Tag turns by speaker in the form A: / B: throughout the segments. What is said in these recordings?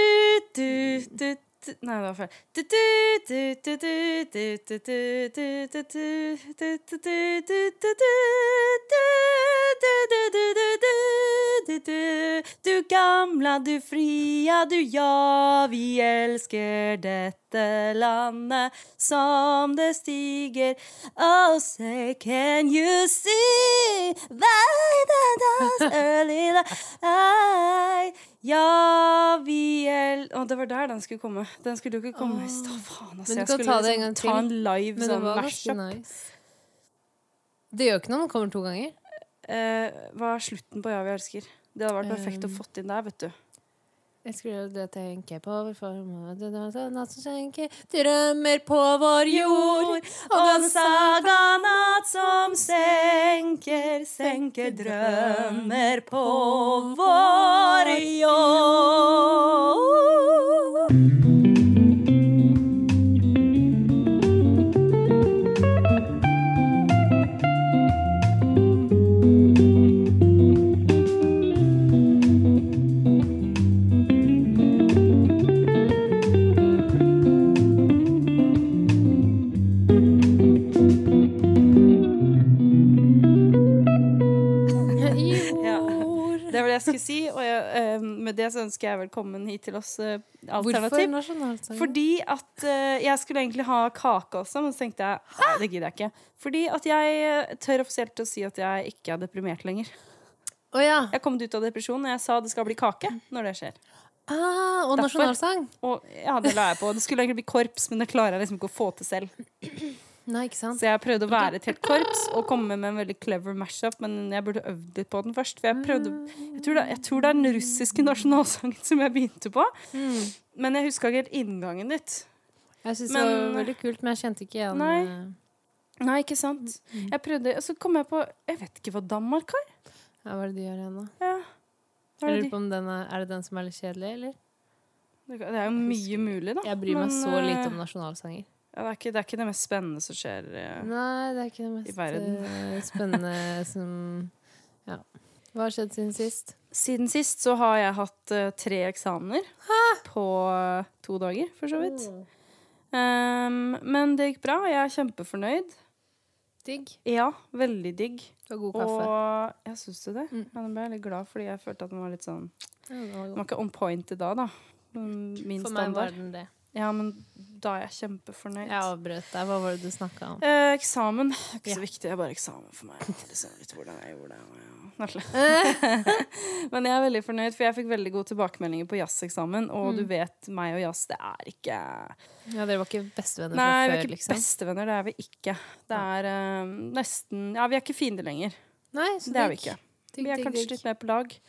A: Du-du-du-du-du Nei, det var feil. Du-du-du-du-du-du-du-du-du-du-du-du-du-du-du-du-du-du-du-du-du. Du gamla, du fria, du ja, vi elsker dette landet som det stiger. Oh, say can you see by the dawn's early light Ja, vi el... Å, det var der den skulle komme. Den skulle jo ikke komme.
B: Åh.
A: Stå faen, altså.
B: Men du
A: jeg
B: kan
A: skulle
B: ta det en gang
A: liksom ta
B: til.
A: en live
B: Men det
A: sånn
B: var ganske
A: mashup.
B: nice. Det gjør ikke noe om den kommer to ganger.
A: Eh, hva er slutten på Ja, vi elsker? Det hadde vært perfekt å
B: Um.
A: fått inn der, vet du.
B: Jeg skulle det tenke på vår form og det er den natt som skjenker drømmer på vår jord.
A: Og den saganatt som senker, senker drømmer på vår jord.
B: Jord.
A: Det var det jeg skulle si, og jeg, eh, med det så ønsker jeg velkommen hit til oss, eh,
B: Hvorfor
A: Alternativ.
B: nasjonalsangen?
A: Fordi at eh, jeg skulle egentlig ha kake også, men så tenkte jeg nei, det gidder jeg ikke. Fordi at jeg eh, tør offisielt å si at jeg ikke er deprimert lenger.
B: Å ja.
A: Jeg kom ut av depresjon, og jeg sa det skal bli kake når det skjer.
B: Ah, og
A: Derfor.
B: nasjonalsang.
A: Og ja, det la jeg på. Det skulle egentlig bli korps, men det klarer jeg liksom ikke å få til selv.
B: Nei, ikke sant?
A: Så jeg prøvde å være et helt korps og komme med en veldig clever mashup, men jeg burde øvd litt på den først. For jeg prøvde
B: Mm.
A: Jeg tror det, jeg tror det er den russiske nasjonalsangen som jeg begynte på.
B: Mm.
A: Men jeg huska ikke helt inngangen ditt.
B: Jeg syns det
A: Men-
B: var veldig kult, men jeg kjente ikke igjen
A: Nei.
B: eh,
A: Nei, ikke sant? Jeg prøvde, og så kom jeg på Jeg vet ikke hva Danmark har.
B: ja, hva er det de gjør igjen, da.
A: Ja. Hva
B: Jeg
A: er,
B: lurer
A: det,
B: på om den er, er det den som er litt kjedelig, eller?
A: de- det er jo mye mulig, da.
B: Jeg bryr meg
A: Men,
B: så lite om
A: eh,
B: nasjonalsanger.
A: ja, det. Er ikke, det er ikke det mest spennende som skjer. eh.
B: Nei, det er ikke det
A: i
B: mest
A: verden.
B: eh, spennende som Ja. Hva har skjedd siden sist?
A: Siden sist så har jeg hatt eh, tre eksamener på eh, to dager, for så vidt.
B: Mm.
A: Um, men det gikk bra. Jeg er kjempefornøyd.
B: Digg.
A: Ja, veldig digg.
B: Det var god kaffe.
A: Og jeg syns du det?
B: Mm.
A: Ja, nå ble jeg litt glad, fordi jeg følte at den var litt sånn
B: Ja, den var
A: Den
B: god.
A: var ikke on point i dag, da. Mm, Min
B: For meg var
A: standard.
B: den det.
A: Ja, men da er jeg kjempefornøyd.
B: Jeg avbrøt deg. Hva var det du snakka om?
A: Eh, eksamen det er ikke
B: Ja.
A: så viktig. Det er bare eksamen for meg. Det er liksom litt hvordan jeg gjorde det. og ja. Men jeg er veldig fornøyd, for jeg fikk veldig gode tilbakemeldinger på jazzeksamen. Og
B: Mm.
A: du vet, meg og jazz, det er ikke
B: Ja, Dere var ikke bestevenner
A: Nei, vi er
B: fra før,
A: ikke
B: liksom?
A: bestevenner. Det er vi ikke. Det er eh, nesten Ja, vi er ikke fiender lenger.
B: Nei, så
A: Det er vi
B: digg.
A: ikke.
B: Digg,
A: Vi er
B: digg,
A: kanskje
B: digg.
A: litt mer på lag.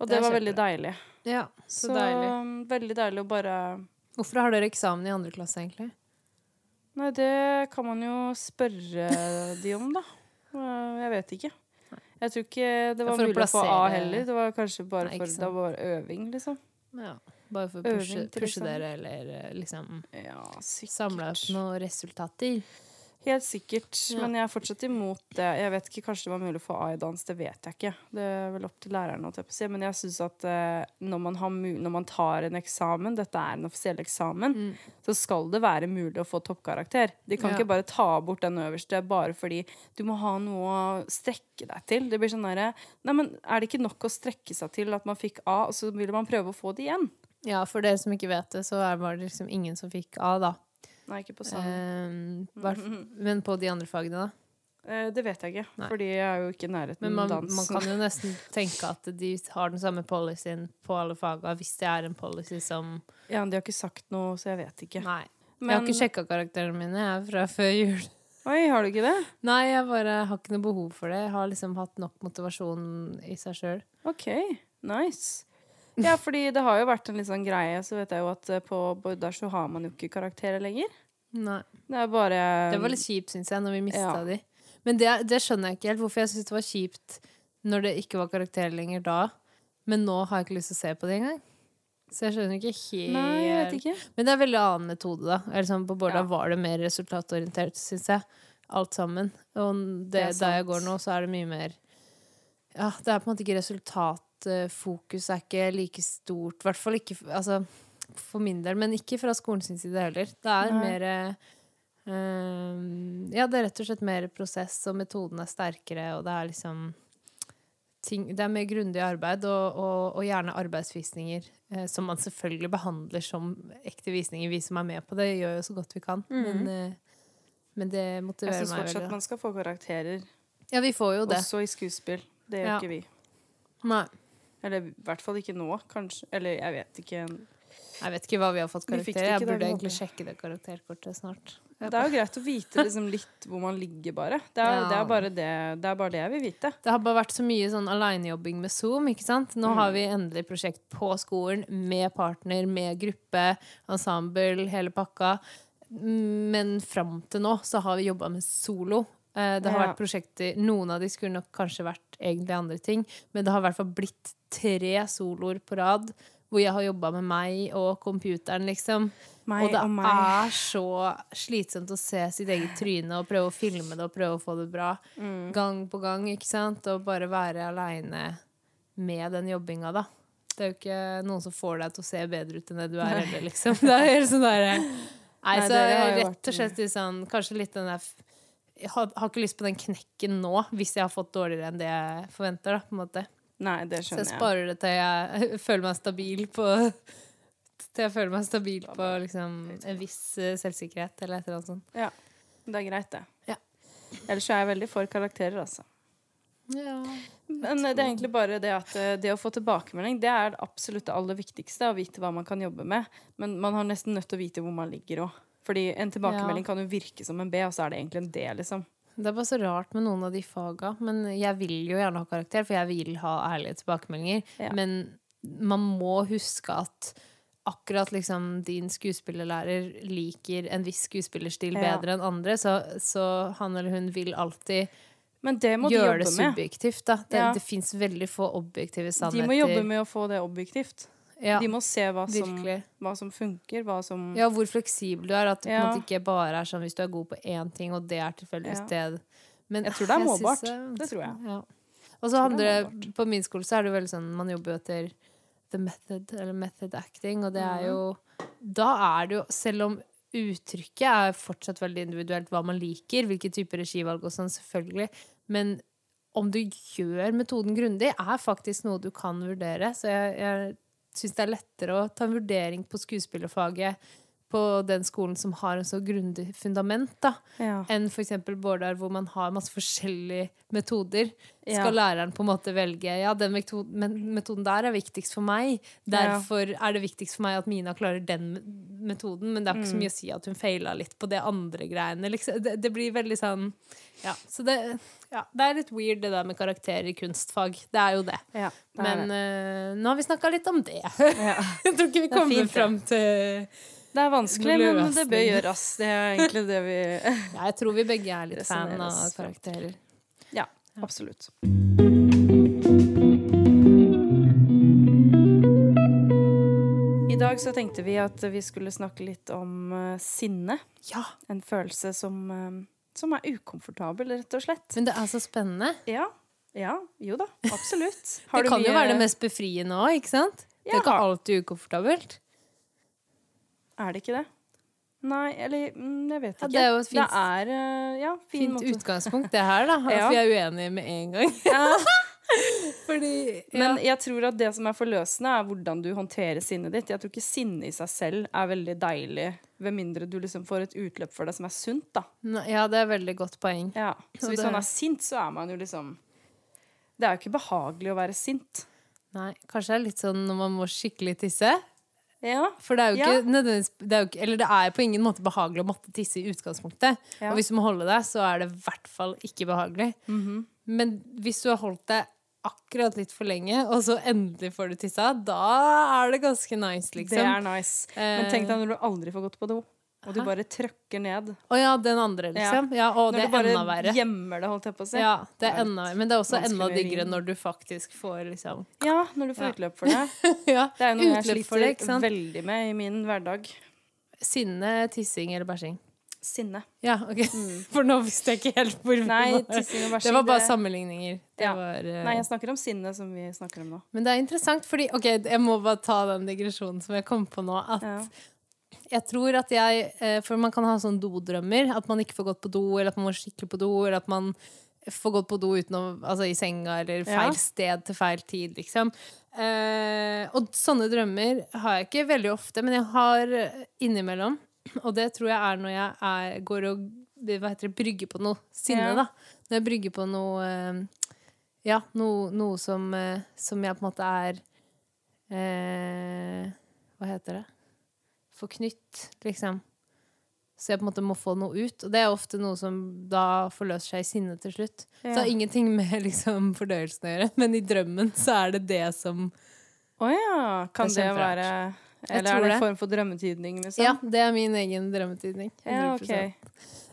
A: Og
B: Det
A: det
B: er
A: var veldig deilig.
B: Ja, så
A: Så
B: deilig.
A: um, veldig deilig å bare
B: Hvorfor har dere eksamen i andre klasse, egentlig?
A: Nei, det kan man jo spørre de om, da. Eh, Jeg vet ikke. Jeg tror ikke det
B: Ja,
A: var
B: for å
A: mulig å få A
B: plassere-
A: heller. Det var kanskje bare
B: Nei, ikke
A: for det
B: sant.
A: var øving, liksom.
B: Ja, Bare for å
A: Øving
B: pushe,
A: til
B: pushe
A: eksamen.
B: dere, eller eh, liksom
A: Ja, sikkert.
B: samle opp noen resultater?
A: Helt sikkert.
B: Ja.
A: Men jeg er fortsatt imot det. Jeg vet ikke, Kanskje det var mulig å få A i dans, det vet jeg ikke. Det er vel opp til læreren. holdt jeg på å si. Men jeg syns at eh, når man, har mu når man tar en eksamen, dette er en offisiell eksamen,
B: Mm.
A: så skal det være mulig å få toppkarakter. De kan
B: Ja.
A: ikke bare ta bort den øverste bare fordi du må ha noe å strekke deg til. Det blir sånn derre Nei, men er det ikke nok å strekke seg til at man fikk A, og så vil man prøve å få det igjen?
B: Ja, for dere som ikke vet det, så er- var det liksom ingen som fikk A, da.
A: Nei, ikke på sånn. sang. Mm.
B: Ehm, hvert- men på de andre fagene, da.
A: Eh, det vet jeg ikke,
B: Nei.
A: fordi jeg er jo ikke i nærheten
B: Men man,
A: av dans.
B: man kan jo nesten tenke at de har den samme policyen på alle faga, hvis det er en policy som
A: Ja, men De har ikke sagt noe, så jeg vet ikke.
B: Nei. Jeg har
A: Men-
B: ikke sjekka karakterene mine jeg er fra før jul.
A: Oi, har du ikke det?
B: Nei, jeg bare har ikke noe behov for det. Jeg har liksom hatt nok motivasjon i seg sjøl.
A: Ok, nice. Ja, fordi det har jo vært en litt sånn greie, så vet jeg jo at eh, på Bordar så har man jo ikke karakterer lenger.
B: Nei.
A: Det er bare
B: Det var litt kjipt, syns jeg, når vi mista
A: Ja.
B: de. Men det, det skjønner jeg ikke helt, hvorfor jeg syns det var kjipt når det ikke var karakter lenger da. Men nå har jeg ikke lyst til å se på det engang. Så jeg skjønner ikke helt
A: Nei, eh, jeg vet ikke.
B: Men det er en veldig annen metode, da. Eller sånn, på Borda
A: Ja.
B: var det mer resultatorientert, syns jeg. Alt sammen. Og det,
A: Det er
B: der jeg
A: sant.
B: går nå, så er det mye mer Ja, det er på en måte ikke resultat eh, fokus er ikke like stort. I hvert fall ikke f- altså, for min del, men ikke fra skolen sin side heller. Det er
A: Nei.
B: mer eh, eh, Ja, det er rett og slett mer prosess, og metoden er sterkere, og det er liksom ting, Det er mer grundig arbeid, og, og, og gjerne arbeidsvisninger, eh, som man selvfølgelig behandler som ekte visninger. Vi som er med på det, gjør jo så godt vi kan, men, eh, men det
A: Mhm. Jeg
B: motiverer
A: syns
B: meg veldig.
A: fortsatt
B: da.
A: man skal få karakterer,
B: Ja, vi får jo det.
A: også i skuespill. Det gjør
B: Ja.
A: ikke vi.
B: Nei.
A: Eller i hvert fall ikke nå, kanskje. Eller jeg vet ikke.
B: Jeg vet ikke hva vi har fått
A: Vi fikk det
B: karakter. Jeg
A: ikke da vi
B: burde
A: hadde
B: egentlig
A: det.
B: sjekke det karakterkortet snart.
A: Det er jo greit å vite liksom, litt hvor man ligger, bare. Det er,
B: Ja.
A: det, er bare det, det er bare det jeg vil vite.
B: Det har bare vært så mye sånn alenejobbing med Zoom. ikke sant? Nå har vi endelig prosjekt på skolen, med partner, med gruppe, ensemble, hele pakka. Men fram til nå så har vi jobba med solo. Eh, Det har
A: Ja.
B: vært prosjekter, Noen av de skulle nok kanskje vært egentlig andre ting, men det har i hvert fall blitt tre soloer på rad hvor jeg har jobba med meg og computeren, liksom.
A: Meg
B: og det
A: og meg.
B: er så slitsomt å se sitt eget tryne og prøve å filme det og prøve å få det bra
A: Mm.
B: gang på gang, ikke sant? Og bare være aleine med den jobbinga, da. Det er jo ikke noen som får deg til å se bedre ut enn det du er heller, liksom. Det er helt sånn derre Nei,
A: Nei,
B: så
A: dere har jo vært-
B: rett og slett litt sånn Kanskje litt den der f- jeg har, har ikke lyst på den knekken nå, hvis jeg har fått dårligere enn det jeg forventer, da, på en måte.
A: Nei, det
B: Så jeg
A: skjønner jeg.
B: sparer det til jeg føler meg stabil på Til jeg føler meg stabil på liksom, en viss eh, selvsikkerhet eller et eller annet sånt.
A: Ja. Det er greit, det.
B: Ja.
A: Ellers er jeg veldig for karakterer, altså. Men eh, det er egentlig bare det at eh, det å få tilbakemelding, det er det absolutt det aller viktigste. Å vite hva man kan jobbe med. Men man har nesten nødt til å vite hvor man ligger òg. Fordi en tilbakemelding kan jo virke som en B, og så er det egentlig en D, liksom.
B: Det er bare så rart med noen av de faga. Men jeg vil jo gjerne ha karakter, for jeg vil ha ærlige tilbakemeldinger.
A: Ja.
B: Men man må huske at akkurat liksom din skuespillerlærer liker en viss skuespillerstil
A: Ja.
B: bedre enn andre, så, så han eller hun vil alltid
A: Men det må de
B: gjøre
A: jobbe
B: det
A: med.
B: subjektivt. Da. Det,
A: Ja.
B: det fins veldig få objektive sannheter.
A: De må jobbe med å få det objektivt.
B: ja.
A: De må se hva som,
B: Virkelig.
A: hva som funker, hhva som
B: Ja, hvor fleksibel du er. At det på en
A: Ja.
B: måte ikke bare er sånn hvis du er god på én ting, og det er tilfeldigvis
A: Ja.
B: det. Men
A: Jeg tror det er
B: synes
A: målbart.
B: er
A: Det tror jeg.
B: vanskelig. Ja. Og så
A: tror det er
B: handler det På min skole så er det jo veldig sånn man jobber jo etter the method, eller method acting, og det er jo Da er det jo Selv om uttrykket er fortsatt veldig individuelt hva man liker, hvilke typer regivalg og sånn, selvfølgelig, men om du gjør metoden grundig, er faktisk noe du kan vurdere. Så jeg, jeg syns det er lettere å ta en vurdering på skuespillerfaget på den skolen som har en så grundig fundament, da,
A: Ja.
B: enn f.eks. Bårdar, hvor man har masse forskjellige metoder.
A: Ja.
B: Skal læreren på en måte velge Ja, den metoden, men metoden der er viktigst for meg.
A: Ja.
B: Derfor er det viktigst for meg at Mina klarer den me- metoden, men det er ikke
A: Mm.
B: så mye å si at hun feila litt på det andre greiene. Liksom. Det, det blir veldig sånn Ja. Så det, ja, det er litt weird, det der med karakterer i kunstfag. Det er jo det.
A: Ja, det er
B: Men
A: det.
B: eh, nå har vi snakka litt om det.
A: Ja.
B: Jeg tror ikke vi
A: er
B: kommer
A: fint, det.
B: fram til
A: Det er vanskelig, men det bør
B: Løsning.
A: gjøres. Det er egentlig det vi
B: ja, Jeg tror vi begge er litt fan
A: Resoneres
B: av
A: fram til.
B: karakterer.
A: Ja, absolutt. I dag så tenkte vi at vi skulle snakke litt om eh, sinne.
B: Ja,
A: En følelse som, eh, som er ukomfortabel, rett og slett.
B: Men det er så spennende.
A: Ja. Ja, jo da. Absolutt. Har
B: Det
A: du
B: kan jo
A: mye-
B: være det mest befriende òg, ikke sant? Det er
A: Ja.
B: ikke alltid ukomfortabelt.
A: Er det ikke det? Nei, eller mm, jeg vet
B: Ja,
A: ikke.
B: det er jo et fint-
A: Det er, eh, ja, fin
B: Fint
A: måte.
B: utgangspunkt, det her, da. At
A: Ja.
B: vi er uenige med en gang. Fordi
A: Men jeg tror at det som er forløsende, er hvordan du håndterer sinnet ditt. Jeg tror ikke sinne i seg selv er veldig deilig, ved mindre du liksom får et utløp for det som er sunt, da.
B: ja. ja, det er veldig godt poeng.
A: Ja. Så
B: Og
A: hvis
B: det-
A: man er sint, så er man jo liksom Det er jo ikke behagelig å være sint.
B: Nei, kanskje det er litt sånn når man må skikkelig tisse.
A: Ja.
B: For det er jo
A: Ja.
B: ikke nødvendigvis det er jo ikke, Eller det er på ingen måte behagelig å måtte tisse i utgangspunktet.
A: Ja.
B: Og hvis du må holde deg, så er det i hvert fall ikke behagelig.
A: Mhm.
B: Men hvis du har holdt deg akkurat litt for lenge, og så endelig får du tissa, da er det ganske nice, liksom.
A: Det er nice. Men tenk
B: Eh.
A: deg når du aldri får gått på do, og du
B: Hæ?
A: bare trøkker ned.
B: Å ja, den andre, liksom. Ja, og
A: Når
B: det
A: du
B: er enda
A: bare
B: verre.
A: gjemmer det, holdt jeg på å si.
B: Ja, det er
A: Det er
B: enda, men det er også
A: vanskelig
B: enda
A: med
B: diggere
A: urin.
B: når du faktisk får liksom
A: Ja, når du får
B: Ja.
A: utløp for det.
B: ja,
A: Det er jo noe jeg
B: utløp for det, ikke
A: sliter
B: sant?
A: veldig med i min hverdag.
B: Sinne, tissing eller bæsjing.
A: sinne.
B: Ja, ok. For nå visste jeg ikke helt hvor vi
A: Mm. Nei,
B: var.
A: tissing og bæsjing.
B: Det var bare
A: det-
B: sammenligninger. Det
A: Ja.
B: var, eh,
A: Nei, jeg snakker om sinne, som vi snakker om nå.
B: Men det er interessant, fordi Ok, jeg må bare ta den digresjonen som jeg kom på nå. At
A: Ja.
B: jeg tror at jeg eh, For man kan ha sånne dodrømmer. At man ikke får gått på do, eller at man må skikkelig på do, eller at man får gått på do utenom, altså i senga, eller
A: Ja.
B: feil sted til feil tid, liksom. Eh, og sånne drømmer har jeg ikke veldig ofte, men jeg har eh, innimellom. Og det tror jeg er når jeg er, går og hva heter det, brygger på noe sinne,
A: Ja.
B: da. Når jeg brygger på noe eh, ja, noe, noe som, eh, som jeg på en måte er eh, Hva heter det? Forknytt, liksom. Så jeg på en måte må få noe ut. Og det er ofte noe som da forløser seg i sinne til slutt. Så det
A: Ja.
B: har ingenting med liksom, fordøyelsen å gjøre, men i drømmen så er det det som
A: Å ja. Kan
B: Det
A: det,
B: er kjemperart.
A: være
B: Jeg
A: Eller
B: tror
A: er det
B: det.
A: en form for drømmetydning, liksom?
B: Ja, det er min egen drømmetydning.
A: Ja,
B: 100%.
A: ok.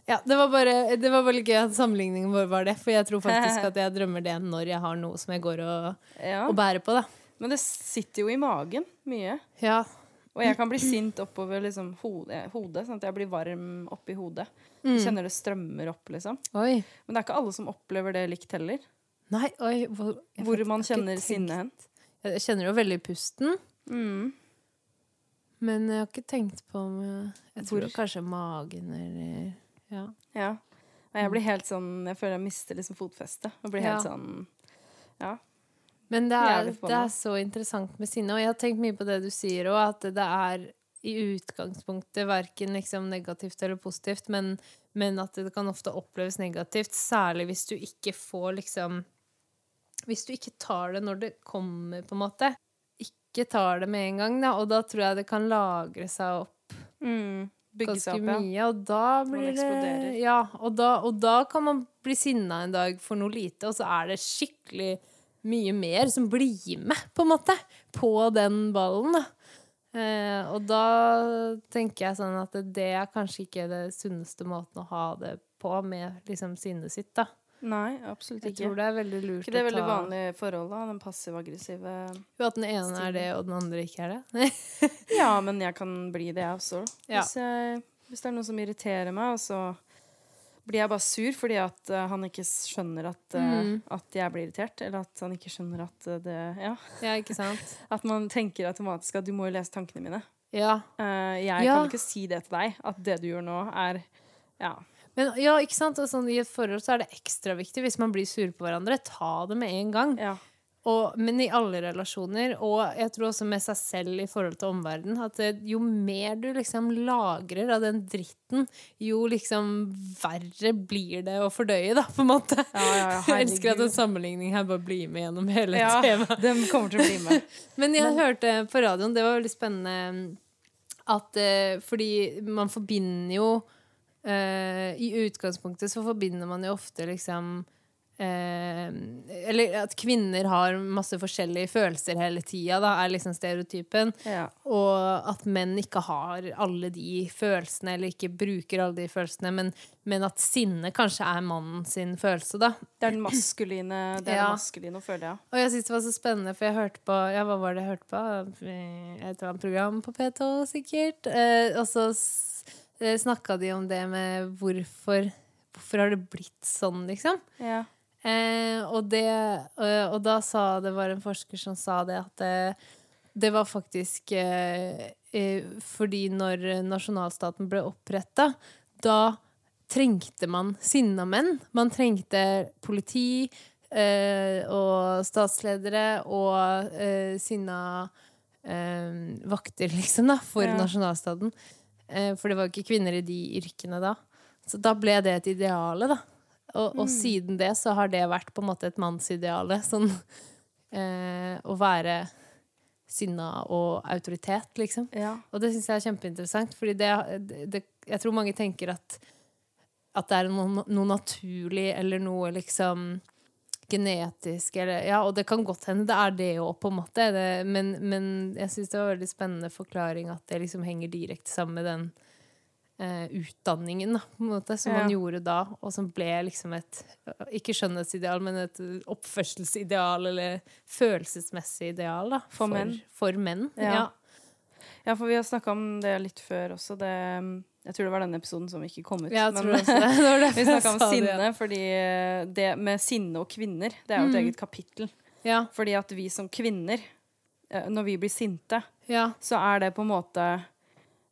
B: Ja, det var bare, det var bare litt gøy at sammenligningen vår var det, for jeg tror faktisk at jeg drømmer det når jeg har noe som jeg går og,
A: Ja.
B: og bærer på, da.
A: Men det sitter jo i magen mye.
B: Ja,
A: Og jeg kan bli sint oppover liksom, hodet, hodet, sånn at jeg blir varm oppi hodet. Jeg
B: Mm.
A: Kjenner det strømmer opp, liksom.
B: oi.
A: Men det er ikke alle som opplever det likt heller.
B: Nei, oi hvor, jeg
A: Hvor
B: faktisk
A: man
B: har ikke
A: kjenner
B: tenkt-
A: sinnet hen. Mm.
B: Jeg kjenner jo veldig i pusten, men jeg har ikke tenkt på om eh, Jeg tror
A: Hvor?
B: kanskje magen eller Ja.
A: Ja. Nei, jeg blir helt sånn Jeg føler jeg mister liksom fotfestet. Og blir helt
B: Ja.
A: sånn
B: Men det er,
A: Jævlig på
B: det
A: meg.
B: er så interessant med sinne, og jeg har tenkt mye på det du sier òg, at det er i utgangspunktet verken liksom negativt eller positivt, men, men at det kan ofte oppleves negativt, særlig hvis du ikke får liksom Hvis du ikke tar det når det kommer, på en måte. Ikke tar det med en gang, da, og da tror jeg det kan lagre seg opp
A: mm, Bygge
B: ganske
A: seg opp, ja.
B: mye, og da blir det
A: eksploderer.
B: Ja, og da, og da kan man bli sinna en dag for noe lite, og så er det skikkelig mye mer som blir med, på en måte, på den ballen, da. Eh, og da tenker jeg sånn at det er kanskje ikke det sunneste måten å ha det på, med liksom sinnet sitt, da.
A: Nei, absolutt
B: Jeg
A: ikke.
B: tror det er veldig lurt
A: Ikke det er veldig
B: å ta
A: vanlige forhold, da? Den passiv-aggressive
B: Jo, at den ene er det, og den andre ikke er det.
A: Ja, men jeg kan bli det, jeg også.
B: Ja.
A: Hvis, jeg, hvis det er noe som irriterer meg, og så blir jeg bare sur fordi at eh, han ikke skjønner at, eh,
B: Mm.
A: at jeg blir irritert. Eller at han ikke skjønner at eh, det Ja.
B: ja, ikke sant?
A: At man tenker automatisk at du må jo lese tankene mine.
B: Ja.
A: Eh, jeg
B: Ja.
A: kan ikke si det til deg, at det du gjør nå, er Ja.
B: Men ja, ikke sant? Og sånn, I et forhold så er det ekstra viktig hvis man blir sure på hverandre. Ta det med en gang.
A: ja.
B: Og, men i alle relasjoner, og jeg tror også med seg selv i forhold til omverdenen, at det, jo mer du liksom lagrer av den dritten, jo liksom verre blir det å fordøye, da, på en måte.
A: Ja, ja, ja,
B: jeg elsker at
A: herregud.
B: en sammenligning her bare blir med gjennom hele
A: Ja,
B: temaet.
A: de kommer til å bli med.
B: Men jeg hørte på radioen, det var veldig spennende at eh, Fordi man forbinder jo eh, I utgangspunktet så forbinder man jo ofte liksom eh, Eller at kvinner har masse forskjellige følelser hele tida, da, er liksom stereotypen.
A: Ja.
B: Og at menn ikke har alle de følelsene, eller ikke bruker alle de følelsene, men, men at sinne kanskje er mannen sin følelse, da.
A: Det er den maskuline, det er
B: Ja.
A: den maskuline føler jeg.
B: Og jeg synes det var så spennende, for jeg hørte på Ja, hva var det jeg hørte på? Eh, Et eller annet program på P2, sikkert. Eh, og så s- eh, snakka de om det med hvorfor Hvorfor har det blitt sånn, liksom?
A: Ja.
B: Eh, og, det, eh, og da sa det var en forsker som sa det at eh, det var faktisk eh, eh, fordi når nasjonalstaten ble oppretta, da trengte man sinna menn. Man trengte politi eh, og statsledere og eh, sinna eh, vakter, liksom, da, for
A: Ja.
B: nasjonalstaten. Eh, for det var jo ikke kvinner i de yrkene da. Så da ble det et ideale, da. Og, og siden det så har det vært på en måte et mannsideale. Sånn eh, å være sinna og autoritet, liksom.
A: ja.
B: Og det syns jeg er kjempeinteressant, fordi det, det Jeg tror mange tenker at at det er noe, noe naturlig eller noe liksom genetisk eller Ja, og det kan godt hende det er det òg, på en måte, det, men, men jeg syns det var en veldig spennende forklaring at det liksom henger direkte sammen med den eh, utdanningen, da, på en måte, som man
A: Ja.
B: gjorde da, og som ble liksom et Ikke skjønnhetsideal, men et oppførselsideal eller følelsesmessig ideal, da.
A: For menn.
B: For menn,
A: Ja.
B: ja.
A: Ja, for vi har snakka om det litt før også. Det, Jeg tror det var denne episoden som ikke kom ut.
B: Ja, jeg
A: men-
B: tror også det. det var derfor
A: Vi
B: jeg
A: snakka om
B: sa det
A: sinne,
B: igjen.
A: fordi eh, det med sinne og kvinner, det er jo et
B: Mm.
A: eget kapittel.
B: Ja,
A: Fordi at vi som kvinner, eh, når vi blir sinte,
B: ja,
A: så er det på en måte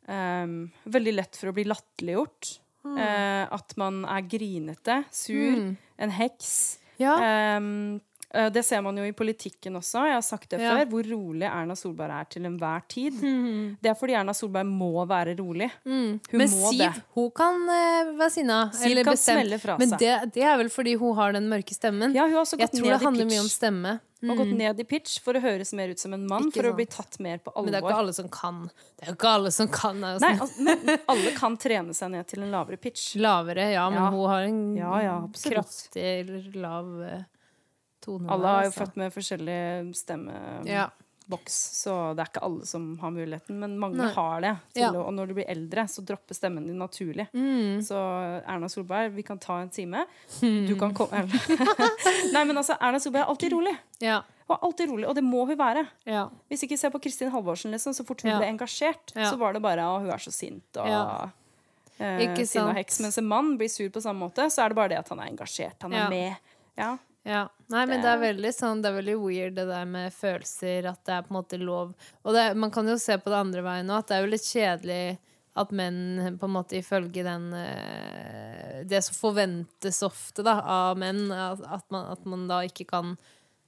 A: ehm, veldig lett for å bli latterliggjort.
B: Mm.
A: Eh, at man er grinete, sur, en heks.
B: ja.
A: Ehm, eh, det ser man jo i politikken også. Jeg har sagt det
B: Ja.
A: før. Hvor rolig Erna Solberg er til enhver tid.
B: Mhm.
A: Det er fordi Erna Solberg må være rolig. Hun
B: Mm. Men
A: må
B: Siv,
A: det.
B: hun kan eh, være sinna.
A: Siv
B: eller
A: kan
B: bestemt.
A: smelle fra
B: Men
A: seg.
B: det, det er vel fordi hun har den mørke stemmen.
A: Ja, hun har også
B: jeg
A: gått
B: tror det
A: ned i
B: handler mye om
A: pitch.
B: stemme.
A: Hun har gått ned i pitch for å høres mer ut som en mann,
B: Ikke
A: for å
B: sant.
A: bli tatt mer på
B: Men det er ikke
A: alvor.
B: alle som kan. Det er jo ikke alle som kan. Det er jo
A: Nei,
B: sånn
A: altså, men alle kan trene seg ned til en lavere pitch.
B: Lavere, ja, men
A: Ja.
B: hun har en
A: Ja, ja, absolutt.
B: kraftig eller lav eh, tone. der,
A: Alle er jo
B: altså.
A: født med forskjellig stemmeboks,
B: ja.
A: så det er ikke alle som har muligheten. Men mange
B: Nei.
A: har det. Til
B: Ja. Mm.
A: å, og når du blir eldre, så dropper stemmen din naturlig. Så Erna Solberg, vi kan ta en time.
B: Hmm.
A: Du kan komme Nei, men altså, Erna Solberg er alltid rolig.
B: ja,
A: Hun er alltid rolig, og det må hun være.
B: ja.
A: Hvis ikke se på Kristin Halvorsen, liksom, så fort hun
B: Ja.
A: ble engasjert,
B: Ja.
A: så var det bare at hun er så sint og
B: Ja.
A: eh,
B: Ikke
A: sinna
B: sant.
A: heks. Mens en mann blir sur på samme måte, så er det bare det at han er engasjert. Han er
B: Ja.
A: med. Ja.
B: Ja. Nei, men det er veldig sånn Det er veldig weird det der med følelser, at det er på en måte lov. Og det, man kan jo se på det andre veien òg, at det er jo litt kjedelig at menn på en måte ifølge den eh, Det som forventes ofte da, av menn, at, at, man, at man da ikke kan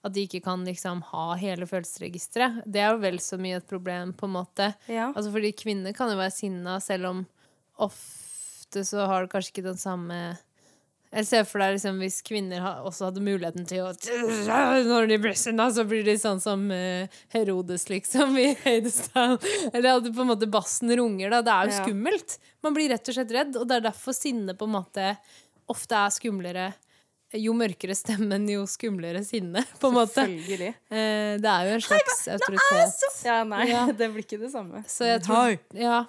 B: At de ikke kan liksom ha hele følelsesregisteret. Det er jo vel så mye et problem, på en måte.
A: Ja.
B: Altså fordi kvinner kan jo være sinna, selv om ofte så har du kanskje ikke den samme Jeg ser for deg liksom hvis kvinner ha, også hadde muligheten til å Når de blir sinna, så blir de sånn som eh, Herodes, liksom, i Heidestad. Eller at på en måte bassen runger, da. Det er jo
A: Ja.
B: skummelt. Man blir rett og slett redd, og det er derfor sinne på en måte ofte er skumlere. Jo mørkere stemmen, jo skumlere sinne, på en måte.
A: Selvfølgelig.
B: Eh, Det er jo en slags autoritet.
A: Ja, nei,
B: Ja.
A: det blir ikke det samme.
B: Så jeg tror Ja.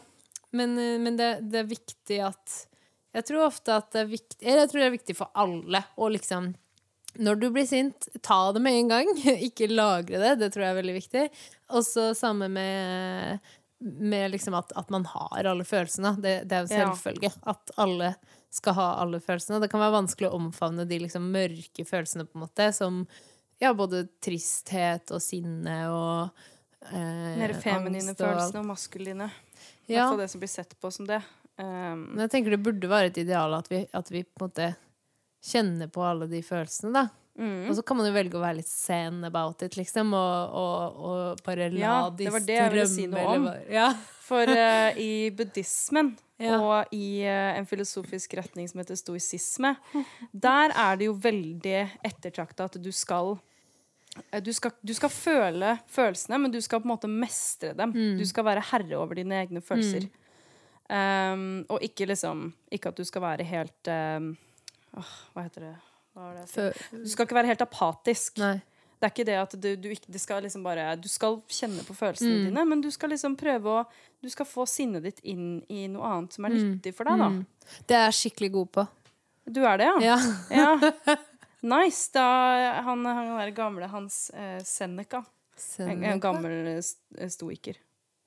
B: Men, eh, men det, det er viktig at Jeg tror ofte at det er viktig eller Jeg tror det er viktig for alle å liksom Når du blir sint, ta det med en gang. Ikke lagre det. Det tror jeg er veldig viktig. Og så samme med med liksom at, at man har alle følelsene. Det, det er jo
A: Ja.
B: selvfølge. At alle skal ha alle følelsene. Det kan være vanskelig å omfavne de liksom mørke følelsene, på en måte, som ja, både tristhet og sinne og eh,
A: Mer feminine
B: angst og alt.
A: følelsene og maskuline. I
B: Ja,
A: hvert fall det som blir sett på som det. Um,
B: men jeg tenker det burde være et ideal at vi, at vi på en måte kjenner på alle de følelsene, da.
A: Mm.
B: Og så kan man jo velge å være litt sen about it, liksom, og, og, og bare la
A: Ja,
B: de
A: det var det jeg ville si noe
B: eller
A: om.
B: bare- Ja.
A: for eh, i buddhismen
B: Ja.
A: og i eh, en filosofisk retning som heter stoisisme, der er det jo veldig ettertrakta at du skal eh, du skal, du skal føle følelsene, men du skal på en måte mestre dem.
B: Mm.
A: Du skal være herre over dine egne følelser. Um, og ikke liksom Ikke at du skal være helt um, åh, Hva heter det? Hva var det? jeg sa?
B: Fø-
A: Du skal ikke være helt apatisk.
B: Nei.
A: Det er ikke det at du, du ikke det skal liksom bare Du skal kjenne på følelsene
B: Mm.
A: dine, men du skal liksom prøve å Du skal få sinnet ditt inn i noe annet
B: Mm.
A: som er nyttig for deg, da.
B: Det er jeg skikkelig god på.
A: Du er det, ja?
B: Ja.
A: Ja. Nice. Da han, han der gamle Hans eh, Seneca. En, en gammel eh, stoiker.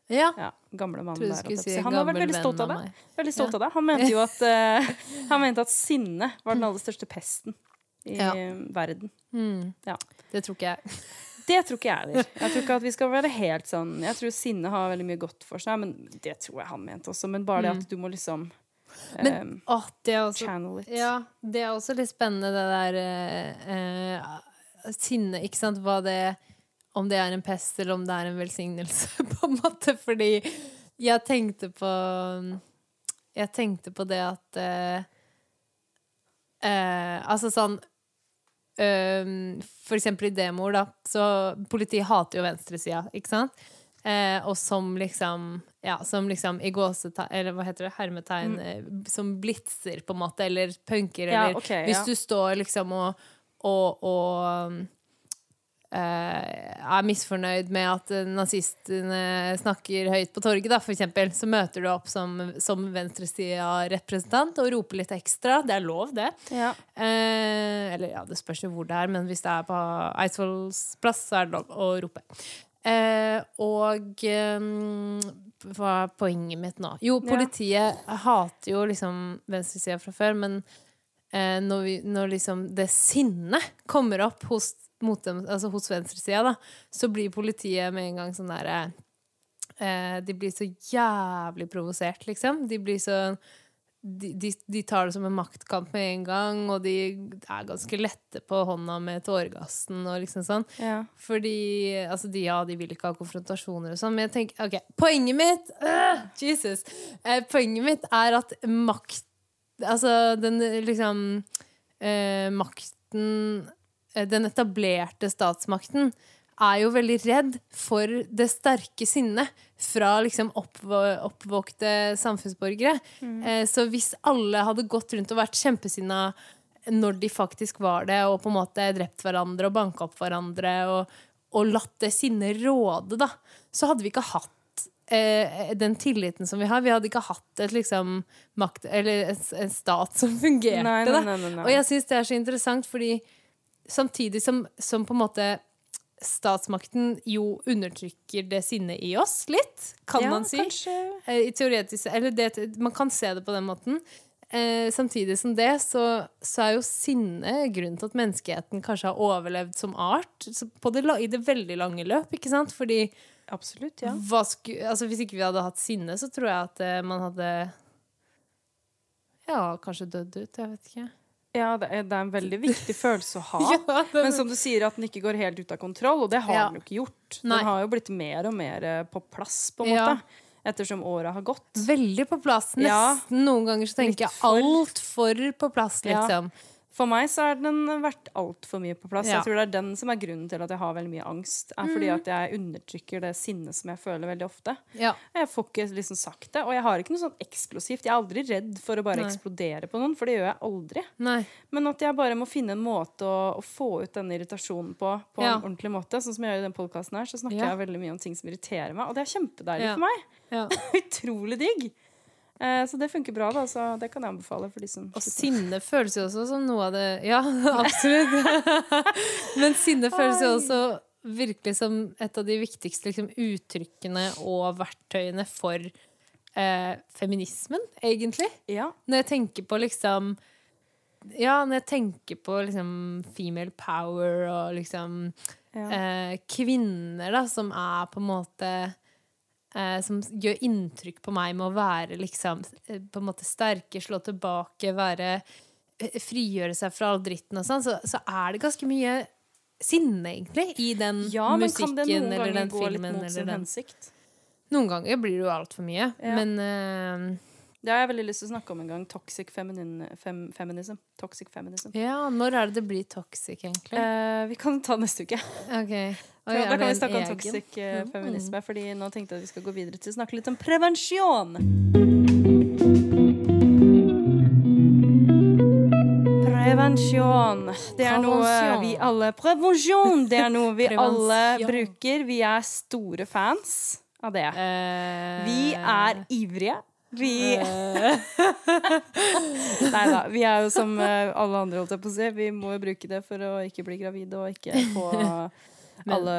B: Ja.
A: Ja, gamle mann
B: Trodde du
A: der.
B: skulle
A: holdt jeg på å
B: si
A: si.
B: en
A: Han har vært
B: gammel
A: veldig stolt
B: venn
A: av
B: av
A: det.
B: meg.
A: Veldig stolt av det. Han mente jo at, eh, han mente at sinne var den aller største pesten i
B: Ja.
A: verden. Ja.
B: Mm. Det tror ikke jeg.
A: Det tror ikke jeg heller. Jeg tror ikke at vi skal være helt sånn Jeg tror sinne har veldig mye godt for seg, men det tror jeg han mente også. Men bare det at du må liksom
B: Mm. Men
A: eh,
B: å, det er også
A: channel it.
B: Ja, det er også litt spennende det der eh, eh, sinne, ikke sant? Hva det Om det er en pest, eller om det er en velsignelse, på en måte. Fordi jeg tenkte på mm, Jeg tenkte på det at eh, eh, Altså sånn eh, For eksempel i demoer, da. Så politiet hater jo venstresida, ikke sant? Eh, og som liksom Ja, som liksom i gåsetegn Eller hva heter det? Hermetegn. Eh, som blitser, på en måte. Eller punker,
A: Ja,
B: eller
A: ok, ja.
B: Hvis du står liksom og, og, og um, eh, er misfornøyd med at eh, nazistene snakker høyt på torget, da, for eksempel, så møter du opp som, som venstresida-representant og roper litt ekstra. Det er lov, det.
A: Ja.
B: Eh, eller ja, det spørs jo hvor det er, men hvis det er på Eidsvolls plass, så er det lov å rope. Eh, og eh, hva er poenget mitt nå? Jo,
A: Ja.
B: politiet hater jo liksom venstresida fra før, men eh, når, vi, når liksom det sinnet kommer opp hos, mot dem, altså hos venstresida, da, så blir politiet med en gang sånn derre eh, De blir så jævlig provosert, liksom. De blir sånn de, de, de tar det som en maktkamp med en gang, og de er ganske lette på hånda med tåregassen og liksom sånn.
A: Ja.
B: Fordi altså de, ja, de vil ikke ha konfrontasjoner og sånn, men jeg tenker OK, poenget mitt øh, Jesus! Eh, poenget mitt er at makt Altså den liksom eh, Makten eh, Den etablerte statsmakten er jo veldig redd for det sterke sinnet fra liksom oppvå oppvåkte samfunnsborgere.
A: Mm.
B: Eh, så hvis alle hadde gått rundt og vært kjempesinna når de faktisk var det, og på en måte drept hverandre og banka opp hverandre, og, og latt det sinnet råde, da, så hadde vi ikke hatt eh, den tilliten som vi har. Vi hadde ikke hatt et liksom makt Eller en, en stat som fungerte,
A: Nei, nei,
B: da.
A: nei, nei, nei.
B: Og jeg syns det er så interessant, fordi samtidig som, som på en måte statsmakten jo undertrykker det sinnet i oss litt, kan
A: Ja,
B: man si.
A: kanskje.
B: Eh, i teoretisk Eller det, man kan se det på den måten. Eh, samtidig som det, så, så er jo sinne grunnen til at menneskeheten kanskje har overlevd som art så på det, la- i det veldig lange løp. ikke sant? Fordi
A: Absolutt, ja.
B: hva sku, altså, hvis ikke vi hadde hatt sinne, så tror jeg at eh, man hadde Ja, kanskje dødd ut. Jeg vet ikke.
A: ja det, er, det er en veldig viktig følelse å ha.
B: det,
A: Men som du sier, at den ikke går helt ut av kontroll, og det har
B: Ja.
A: den jo ikke gjort.
B: Nei.
A: Den har jo blitt mer og mer eh, på plass, på en
B: Ja.
A: måte, ettersom åra har gått.
B: Veldig på plass. Nesten.
A: Ja.
B: Noen ganger så tenker jeg
A: for.
B: altfor på plass,
A: Ja.
B: liksom.
A: For meg så har den vært altfor mye på plass.
B: Ja. Mm.
A: Jeg tror det er den som er grunnen til at jeg har veldig mye angst. er Fordi at jeg undertrykker det sinnet som jeg føler veldig ofte.
B: Ja.
A: Jeg får ikke liksom sagt det, og jeg har ikke noe sånn eksplosivt. Jeg er aldri redd for å bare
B: Nei.
A: eksplodere på noen, for det gjør jeg aldri.
B: Nei.
A: Men at jeg bare må finne en måte å, å få ut denne irritasjonen på på
B: Ja.
A: en ordentlig måte. Sånn som jeg gjør i den podkasten her, så snakker
B: Ja.
A: jeg veldig mye om ting som irriterer meg, og det er kjempedeilig
B: Ja.
A: for meg.
B: Ja.
A: Utrolig digg. Eh, så det funker bra, da. Så det kan jeg anbefale for de som
B: Og sinne føles jo også som noe av det Ja, absolutt. Men sinne føles jo også virkelig som et av de viktigste liksom, uttrykkene og verktøyene for eh, feminismen, egentlig.
A: Ja.
B: Når jeg tenker på liksom Ja, når jeg tenker på liksom female power og liksom
A: ja.
B: eh, kvinner da, som er på en måte eh, Som gjør inntrykk på meg med å være liksom eh, på en måte sterke, slå tilbake, være eh, Frigjøre seg fra all dritten og sånn, så, så er det ganske mye sinne, egentlig, i den
A: Ja, men kan
B: musikken
A: det noen
B: eller
A: ganger
B: den
A: gå litt
B: filmen
A: mot
B: eller
A: sin
B: den
A: hensikt?
B: Noen ganger blir det jo altfor mye,
A: Ja.
B: men eh,
A: Det har jeg veldig lyst til å snakke om en gang. Toxic feminin, fem, feminism. Toxic feminism.
B: Ja, når er det det blir toxic, egentlig?
A: Eh, vi kan ta neste uke.
B: Ok. Oi,
A: da
B: er
A: kan
B: det
A: vi
B: en
A: snakke om
B: egen? Mm.
A: toxic eh, feminisme. Fordi nå tenkte jeg at vi skal gå videre til å snakke litt om prevensjon. Prevensjon. Det er noe
B: Prevensjon.
A: vi alle Prevensjon! Det er noe vi alle
B: Prevensjon.
A: bruker. Vi er store fans av det.
B: Eh,
A: Vi er ivrige. Vi Nei da. Vi er jo som eh, alle andre, holdt jeg på å si. Vi må jo bruke det for å ikke bli gravide og ikke få alle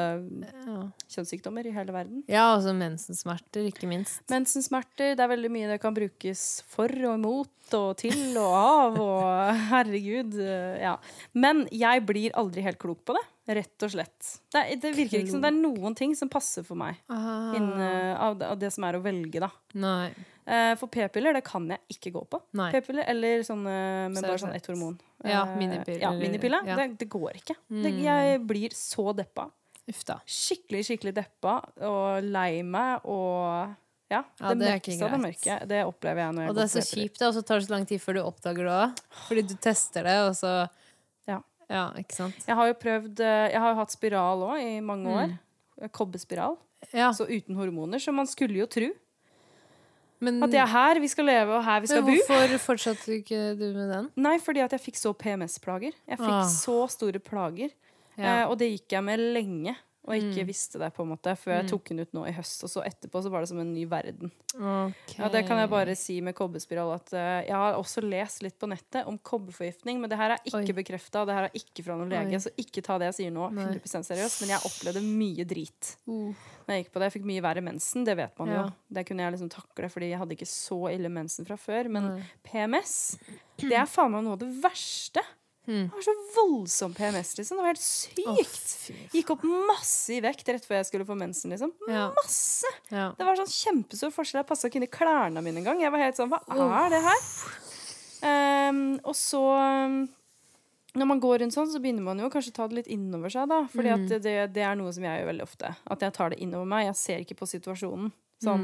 B: ja.
A: kjønnssykdommer i hele verden.
B: Ja, også mensensmerter, ikke minst.
A: Mensensmerter, det er veldig mye det kan brukes for og imot og til og av og herregud. eh, Ja. Men jeg blir aldri helt klok på det, rett og slett. Det, er- det virker ikke som det er noen ting som passer for meg innen,
B: Ah.
A: eh, av, det- av det som er å velge, da.
B: Nei.
A: Eh, For p-piller det kan jeg ikke gå på.
B: Nei.
A: P-piller Eller sånne med bare sånn
B: Servant.
A: ett hormon.
B: Ja,
A: Eh,
B: minipiller.
A: Ja, minipiller.
B: Ja.
A: Det, det går ikke. Det,
B: Mm.
A: jeg blir så deppa.
B: Uff da.
A: Skikkelig, skikkelig deppa og lei meg og ja,
B: Ja,
A: det,
B: det er ikke
A: mørkeste av det
B: greit.
A: mørke. Det opplever jeg når jeg
B: Og det
A: går
B: er så
A: på p-piller.
B: kjipt, da, og så tar det så lang tid før du oppdager det òg. Fordi du tester det, og så
A: Ja.
B: Ja, ikke sant?
A: Jeg har jo prøvd eh, Jeg har jo hatt spiral òg i mange år. Kobbespiral.
B: Mm. Ja,
A: Så uten hormoner, så man skulle jo tro
B: men,
A: at det er her vi skal leve, og her vi skal
B: men
A: bo.
B: hvorfor fortsatte du ikke du med den?
A: Nei, fordi at jeg fikk så PMS-plager. Jeg fikk
B: Ah.
A: så store plager.
B: Ja. Mm.
A: Eh, og det gikk jeg med lenge. og ikke visste det på en måte før jeg tok den ut nå i høst. Og så etterpå så var det som en ny verden. Ja, det kan jeg bare si med kobberspiral at eh, jeg har også lest litt på nettet om kobberforgiftning, men det her er
B: Oi.
A: ikke bekrefta, det her er ikke fra noen lege,
B: Oi.
A: så ikke ta det jeg sier nå 100 seriøst. Men jeg opplevde mye drit
B: Uh,
A: når jeg gikk på det. Jeg fikk mye verre mensen, det vet man
B: Ja.
A: jo. Det kunne jeg liksom takle, fordi jeg hadde ikke så ille mensen fra før. Men PMS, det er faen meg noe av det verste.
B: Hmm.
A: Jeg har så voldsom PMS, liksom. Det var helt sykt. Gikk opp masse i vekt rett før jeg skulle få mensen, liksom.
B: Ja.
A: Masse!
B: ja.
A: Det var sånn kjempestor forskjell. Jeg passa ikke inn i klærne mine engang. Jeg var helt sånn, hva er det her? Ehm, og så um, når man går rundt sånn, så begynner man jo å kanskje ta det litt innover seg. da Fordi at det, det er noe som jeg gjør veldig ofte. At jeg tar det innover meg. Jeg ser ikke på situasjonen. Sånn,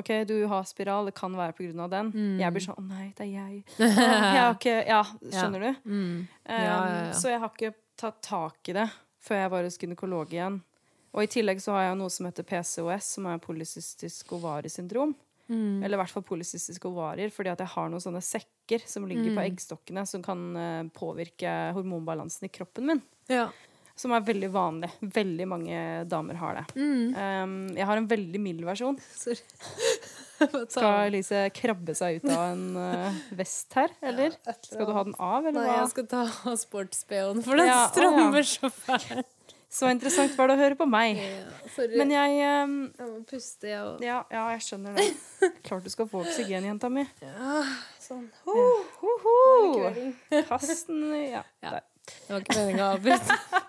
A: OK, du har spiral, det kan være pga. den. Jeg blir sånn Å nei, det er jeg. Å, jeg har ikke, ja, skjønner du?
B: Mm.
A: Ehm,
B: Ja, ja, ja.
A: Så jeg har ikke tatt tak i det før jeg var hos gynekolog igjen. Og i tillegg så har jeg noe som heter PCOS, som er polycystisk ovariesyndrom.
B: Mm.
A: Eller i hvert fall polycystiske ovarier, fordi at jeg har noen sånne sekker som ligger
B: Mm.
A: på eggstokkene, som kan eh, påvirke hormonbalansen i kroppen min.
B: Ja.
A: Som er veldig vanlig. Veldig mange damer har det.
B: Mm.
A: Um, jeg har en veldig mild versjon.
B: Sorry.
A: Skal Elise krabbe seg ut av en eh, vest her, eller? Skal du ha den av, eller
B: Nei,
A: hva?
B: jeg skal ta av sports-BH-en, for den
A: Ja, å, ja.
B: strammer så fælt.
A: Så interessant var det å høre på meg.
B: Sorry.
A: Men jeg ehm,
B: Jeg må puste, jeg òg.
A: ja, ja, jeg skjønner det. Klart du skal få oksygen, jenta mi.
B: Sånn.
A: Ho, ho, ho. Kast den i- Ja.
B: Ja.
A: Der.
B: Det var ikke meninga å avbryte.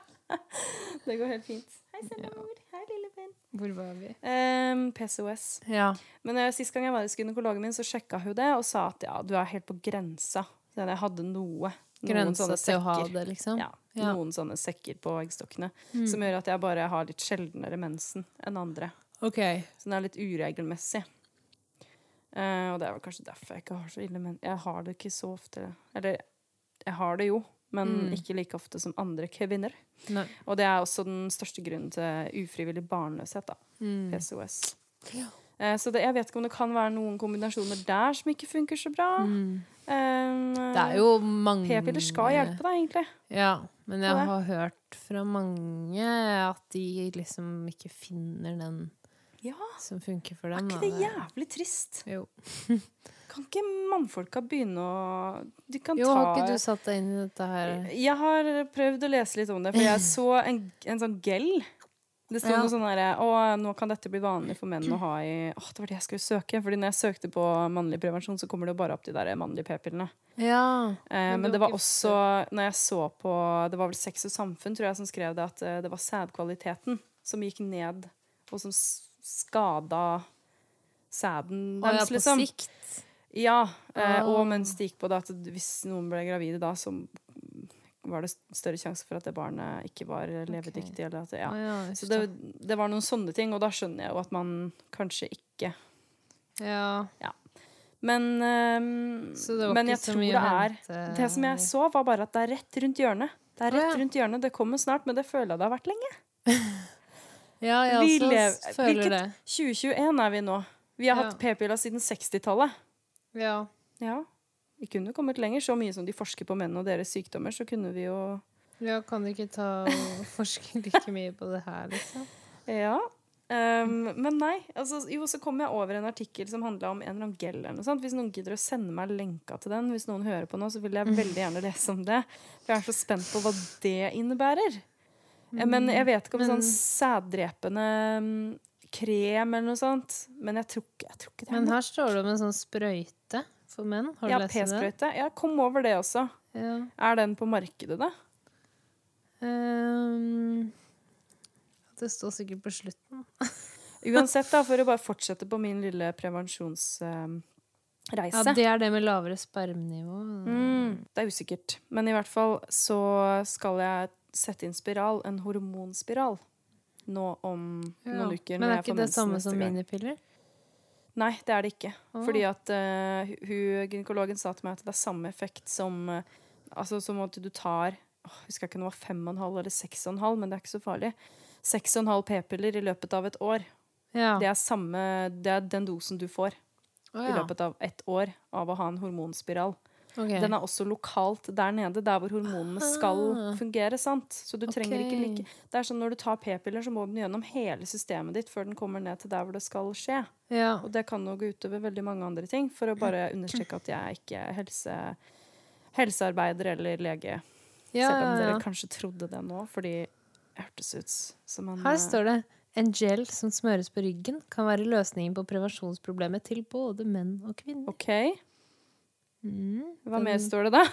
A: Det går helt fint. Hei, Sellemor. Hei, lille venn.
B: Hvor var vi?
A: Ehm, PCOS.
B: Ja.
A: Men eh, sist gang jeg var hos gynekologen min, så sjekka hun det og sa at ja, du er helt på grensa. Så jeg hadde noe. Noen
B: Grensa
A: sånne
B: til å ha
A: sekker.
B: det, liksom?
A: Ja,
B: Ja. Mm.
A: Noen sånne sekker på eggstokkene. Som gjør at jeg bare har litt sjeldnere mensen enn andre.
B: OK.
A: Så den er litt uregelmessig. Eh, og det er vel kanskje derfor jeg ikke har så ille men Jeg har det ikke så ofte. Eller jeg har det jo, men
B: Mm.
A: ikke like ofte som andre kvinner.
B: Nei.
A: Og det er også den største grunnen til ufrivillig barnløshet, da.
B: Mm.
A: PCOS. Eh, så det, jeg vet ikke om det kan være noen kombinasjoner der som ikke funker så bra. Eh,
B: Mm. Det er jo mange
A: P-piller skal hjelpe deg, egentlig.
B: Ja, men jeg
A: Ja.
B: har hørt fra mange at de liksom ikke finner den
A: Ja,
B: som funker for
A: er
B: dem.
A: ikke
B: da.
A: det jævlig trist?
B: Jo.
A: Kan ikke mannfolka begynne å Du kan
B: jo,
A: ta
B: har ikke du satt deg inn i dette her?
A: Jeg har prøvd å lese litt om det, for jeg så en, en sånn gel. Det sto
B: Ja.
A: noe sånn derre Å, nå kan dette bli vanlig for menn å ha i Å, det var det jeg skulle søke. Fordi når jeg søkte på mannlig prevensjon, så kommer det jo bare opp de der mannlige p-pillene.
B: Ja.
A: Eh,
B: Men
A: men
B: det
A: det
B: var
A: var
B: ikke-
A: også Når jeg så på Det var vel Sex og Samfunn, tror jeg, som skrev det, at eh, det var sædkvaliteten som gikk ned, og som s- skada sæden
B: Å ja,
A: deres,
B: på
A: liksom.
B: sikt.
A: Ja, eh,
B: Ah.
A: og mens det gikk på det at hvis noen ble gravide da, så var det større sjanse for at det barnet ikke var levedyktig. Eller at, det- ja.
B: Å ja,
A: Så
B: just
A: det, det var noen sånne ting, og da skjønner jeg jo at man kanskje ikke
B: det. ja.
A: Men, ehm,
B: Så det var
A: men
B: ikke
A: jeg
B: så
A: tror
B: mye
A: det
B: å
A: er
B: hente
A: Det som jeg så, var bare at det er rett rundt hjørnet. Det er
B: Å,
A: rett
B: ja.
A: rundt hjørnet, det kommer snart, men det føler jeg det har vært lenge.
B: Ja, jeg
A: Vi
B: også
A: lever-
B: s- føler
A: hvilket-
B: det.
A: 2021 er vi nå. Vi har
B: Ja.
A: hatt p-piller siden 60-tallet.
B: Ja.
A: Ja. Vi kunne jo kommet lenger. Så mye som de forsker på menn og deres sykdommer, så kunne vi jo
B: ja, kan du ikke ta og forske like mye på det her, liksom?
A: Ja. ehm, men nei. Altså, jo, så kom jeg over en artikkel som handla om en eller annen gel. Eller noe sånt. Hvis noen gidder å sende meg lenka til den, hvis noen hører på nå, så vil
B: Mm.
A: jeg veldig gjerne lese om det. For jeg er så spent på hva det innebærer. Eh,
B: Mm,
A: Men jeg vet ikke om sånn sæddrepende mm, krem eller noe sånt. Men jeg tror, ikke- jeg tror ikke det. er
B: Men
A: noe.
B: her står det om en sånn sprøyte for menn. Har du
A: ja,
B: lest om den?
A: P-sprøyte. Ja, kom over det også.
B: Ja.
A: Er den på markedet, da?
B: Ehm, det står sikkert på slutten.
A: Uansett, da, for å bare fortsette på min lille prevensjonsreise.
B: Ja, det er det med lavere spermnivå.
A: Mm, det er usikkert. Men i hvert fall så skal jeg sette inn spiral, en hormonspiral, nå om noen uker.
B: Men
A: når
B: er
A: jeg får
B: ikke det
A: mensen
B: samme
A: neste
B: som
A: gang.
B: minipiller?
A: Nei, det er det ikke.
B: Å.
A: Fordi at eh, hu- hun, gynekologen sa til meg at det er samme effekt som eh, Altså som at du tar åh, Jeg husker ikke om det var fem og en halv eller seks og en halv, men det er ikke så farlig. Seks og en halv p-piller i løpet av et år.
B: Ja.
A: Det er samme Det er den dosen du får
B: Å,
A: i
B: ja.
A: løpet av ett år av å ha en hormonspiral.
B: Ok.
A: Den er også lokalt der nede, der hvor hormonene skal
B: Ah.
A: fungere. sant? Så du trenger ikke
B: Ok.
A: like Det er sånn Når du tar p-piller, så må den gjennom hele systemet ditt før den kommer ned til der hvor det skal skje.
B: ja.
A: Og det kan jo gå utover veldig mange andre ting, for å bare understreke at jeg er ikke helse, helsearbeider eller lege.
B: Ja,
A: Selv om
B: ja,
A: dere
B: ja.
A: kanskje trodde det nå, fordi jeg hørtes ut som en
B: Her står det en gel som smøres på ryggen, kan være løsningen på prevensjonsproblemet til både menn og kvinner.
A: eh, OK.
B: Mm.
A: Hva
B: Den-
A: mer står det, da?